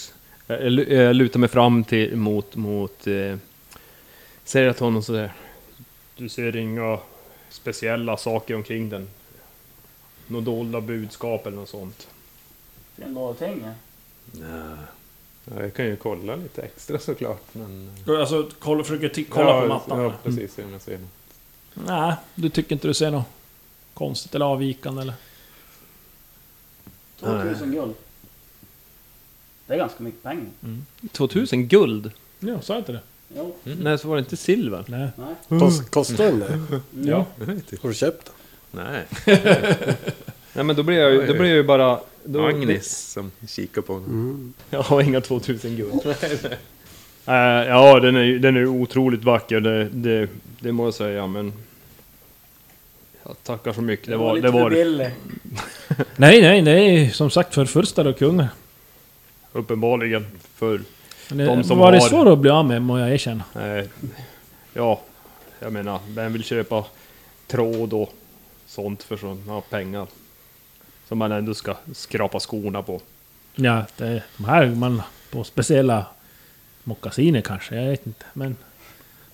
Speaker 5: eh,
Speaker 7: Jag, jag, lu- jag lutar mig fram till, mot, mot eh, Seraton och sådär.
Speaker 5: Du ser inga speciella saker omkring den. Några dolda budskap eller något sånt.
Speaker 6: En dag pengar.
Speaker 8: Ja, jag kan ju kolla lite extra såklart. Men...
Speaker 2: Ska jag Alltså kolla, försöker ti- kolla
Speaker 8: ja,
Speaker 2: på mattan.
Speaker 8: Ja, precis. om Jag ser något.
Speaker 2: Nej, du tycker inte du ser något konstigt eller avvikande eller?
Speaker 6: 2000 guld. Det är ganska mycket pengar.
Speaker 7: 2000 guld?
Speaker 2: Ja, sa jag inte det?
Speaker 6: Jo.
Speaker 5: Mm.
Speaker 7: Nej, så var det inte silver?
Speaker 2: Nej.
Speaker 6: Nej.
Speaker 3: Kost, kostar den det?
Speaker 2: Ja.
Speaker 3: Har du köpt den?
Speaker 4: Nej,
Speaker 7: Nej men då blir jag ju, då blir jag ju bara... Då,
Speaker 4: Agnes som kikar på honom.
Speaker 5: Jag har inga 2000 guld. Eh, ja, den är, ju- den är ju otroligt vacker, det, det, det må jag säga, men... Jag tackar så mycket, det var det. Var det.
Speaker 6: billigt.
Speaker 2: Nej, nej, det är som sagt förfurstade och kungar.
Speaker 5: Uppenbarligen. För...
Speaker 2: Men det
Speaker 5: De
Speaker 2: De
Speaker 5: som
Speaker 2: var det
Speaker 5: har-
Speaker 2: svårt att bli av med må jag erkänna.
Speaker 5: Eh, ja, jag menar, vem vill köpa tråd och sånt för sådana pengar? Som man ändå ska skrapa skorna på.
Speaker 2: Ja, det, de här man på speciella mockasiner kanske, jag vet inte. Men...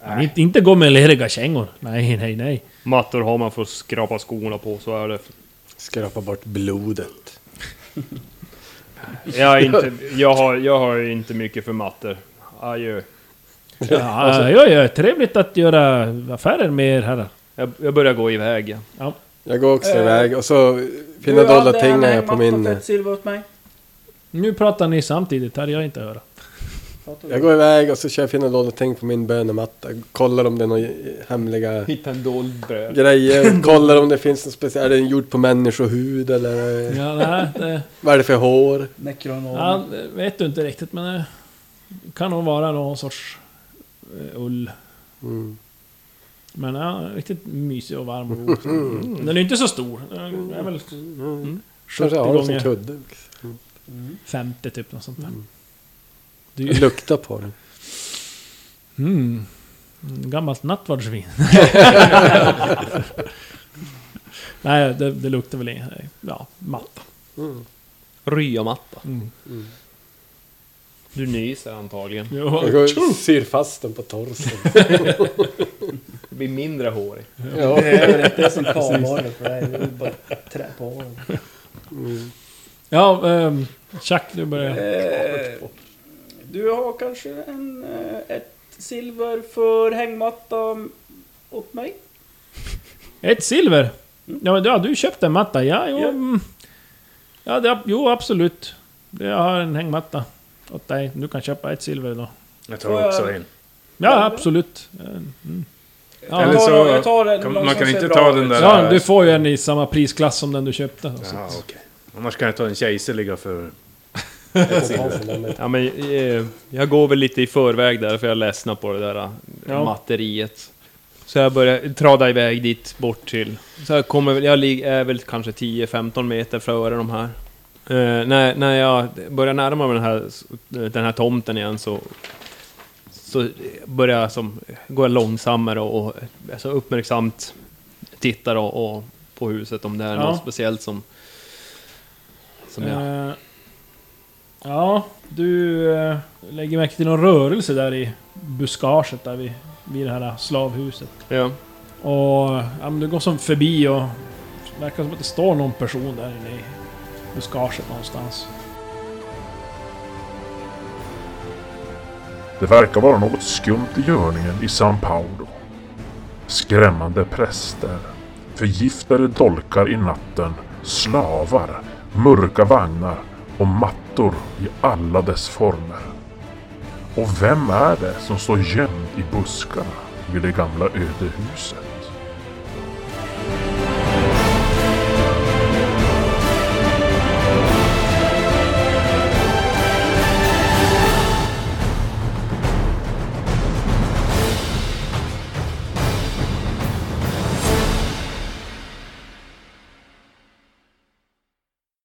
Speaker 2: men Inte, inte gå med leriga kängor. Nej, nej, nej.
Speaker 5: Mattor har man för att skrapa skorna på, så är det.
Speaker 3: Skrapa bort blodet.
Speaker 5: Jag, är inte, jag, har, jag har ju inte mycket för mattor. Adjö.
Speaker 2: Ja, ja, ja, trevligt att göra affärer med er herrar.
Speaker 5: Jag, jag börjar gå iväg. ja.
Speaker 3: Jag går
Speaker 2: Eh.
Speaker 3: också iväg och så fina dolda ting har jag på min... eh,
Speaker 6: Ett silver åt mig.
Speaker 2: Nu pratar ni samtidigt, hade jag inte höra.
Speaker 3: Jag går iväg och så kör jag fina dolda ting på min bönematta. Kollar om det är några hemliga
Speaker 7: Hitta en dold bröd.
Speaker 3: grejer. Kollar om det finns något speciellt. Är den gjord på människohud eller
Speaker 2: Ja, nej, det,
Speaker 3: vad är det för hår?
Speaker 6: Necronom.
Speaker 2: ja, det vet du inte riktigt, men det kan nog vara någon sorts eh, ull.
Speaker 3: Mm.
Speaker 2: Men ja, riktigt mysig och varm och god. Den är inte så stor. Den är
Speaker 3: Mm.
Speaker 2: väl
Speaker 3: Kanske
Speaker 2: 70
Speaker 3: har den som
Speaker 2: gånger
Speaker 3: kudde.
Speaker 2: 50 typ, något sånt där.
Speaker 3: Mm. Jag luktar på den.
Speaker 2: Mm. Gammalt nattvardsvin. Nej, det, det luktar väl inget. Ja, matta.
Speaker 3: Mm.
Speaker 7: Ryamatta.
Speaker 2: Mm.
Speaker 7: Du nyser antagligen.
Speaker 3: Jag går och syr fast den på torsen.
Speaker 7: Du blir mindre hårig.
Speaker 3: Ja.
Speaker 6: Det är väl inte som kvarvaror för dig. Det är ju bara trä på håren.
Speaker 2: Ja, ehm, Chuck, du börjar.
Speaker 6: Eh, Du har kanske en, eh, ett silver för hängmatta åt mig?
Speaker 2: Ett silver? Ja, men, ja, du köpte en matta. Ja, jo.
Speaker 6: Ja.
Speaker 2: mm. Ja, det, jo, absolut. Jag har en hängmatta åt dig. Du kan köpa ett silver då.
Speaker 4: Jag tar också en.
Speaker 2: Ja, absolut. Mm.
Speaker 6: Jag
Speaker 2: Ja,
Speaker 4: Eller-
Speaker 6: tar,
Speaker 4: så-
Speaker 6: den- jag tar den
Speaker 4: kan-
Speaker 6: någon
Speaker 4: man
Speaker 6: som
Speaker 4: kan
Speaker 6: ser
Speaker 4: inte
Speaker 6: bra
Speaker 4: ta
Speaker 6: ut.
Speaker 4: den där-
Speaker 2: ja, du får ju en i samma prisklass som den du köpte. Alltså. Så.
Speaker 4: Ja, okej. Annars kan jag ta den kejserliga för...
Speaker 7: Ja, men, eh, jag går väl lite i förväg där, för jag ledsnar på det där eh,
Speaker 2: Ja.
Speaker 7: matteriet. Så jag börjar trada iväg dit bort till. Så jag, kommer, väl- jag lig- är väl kanske 10-15 meter före de här. Eh, när, när jag börjar närma mig den här, den här tomten igen så, så börjar jag som, går jag långsammare och, och alltså uppmärksamt tittar och, och på huset om det är
Speaker 2: Ja.
Speaker 7: något speciellt som, som jag
Speaker 2: Eh, ja, du eh, lägger märke till någon rörelse där i buskaget där vid, vid det här slavhuset.
Speaker 7: Ja.
Speaker 2: Och ja, men du går som förbi och det verkar som att det står någon person där inne i buskaget någonstans.
Speaker 1: Det verkar vara något skumt i görningen i São Paulo. Skrämmande präster, förgiftade dolkar i natten, slavar, mörka vagnar och mattor i alla dess former. Och vem är det som står gömd i buskarna? vid det gamla ödehuset.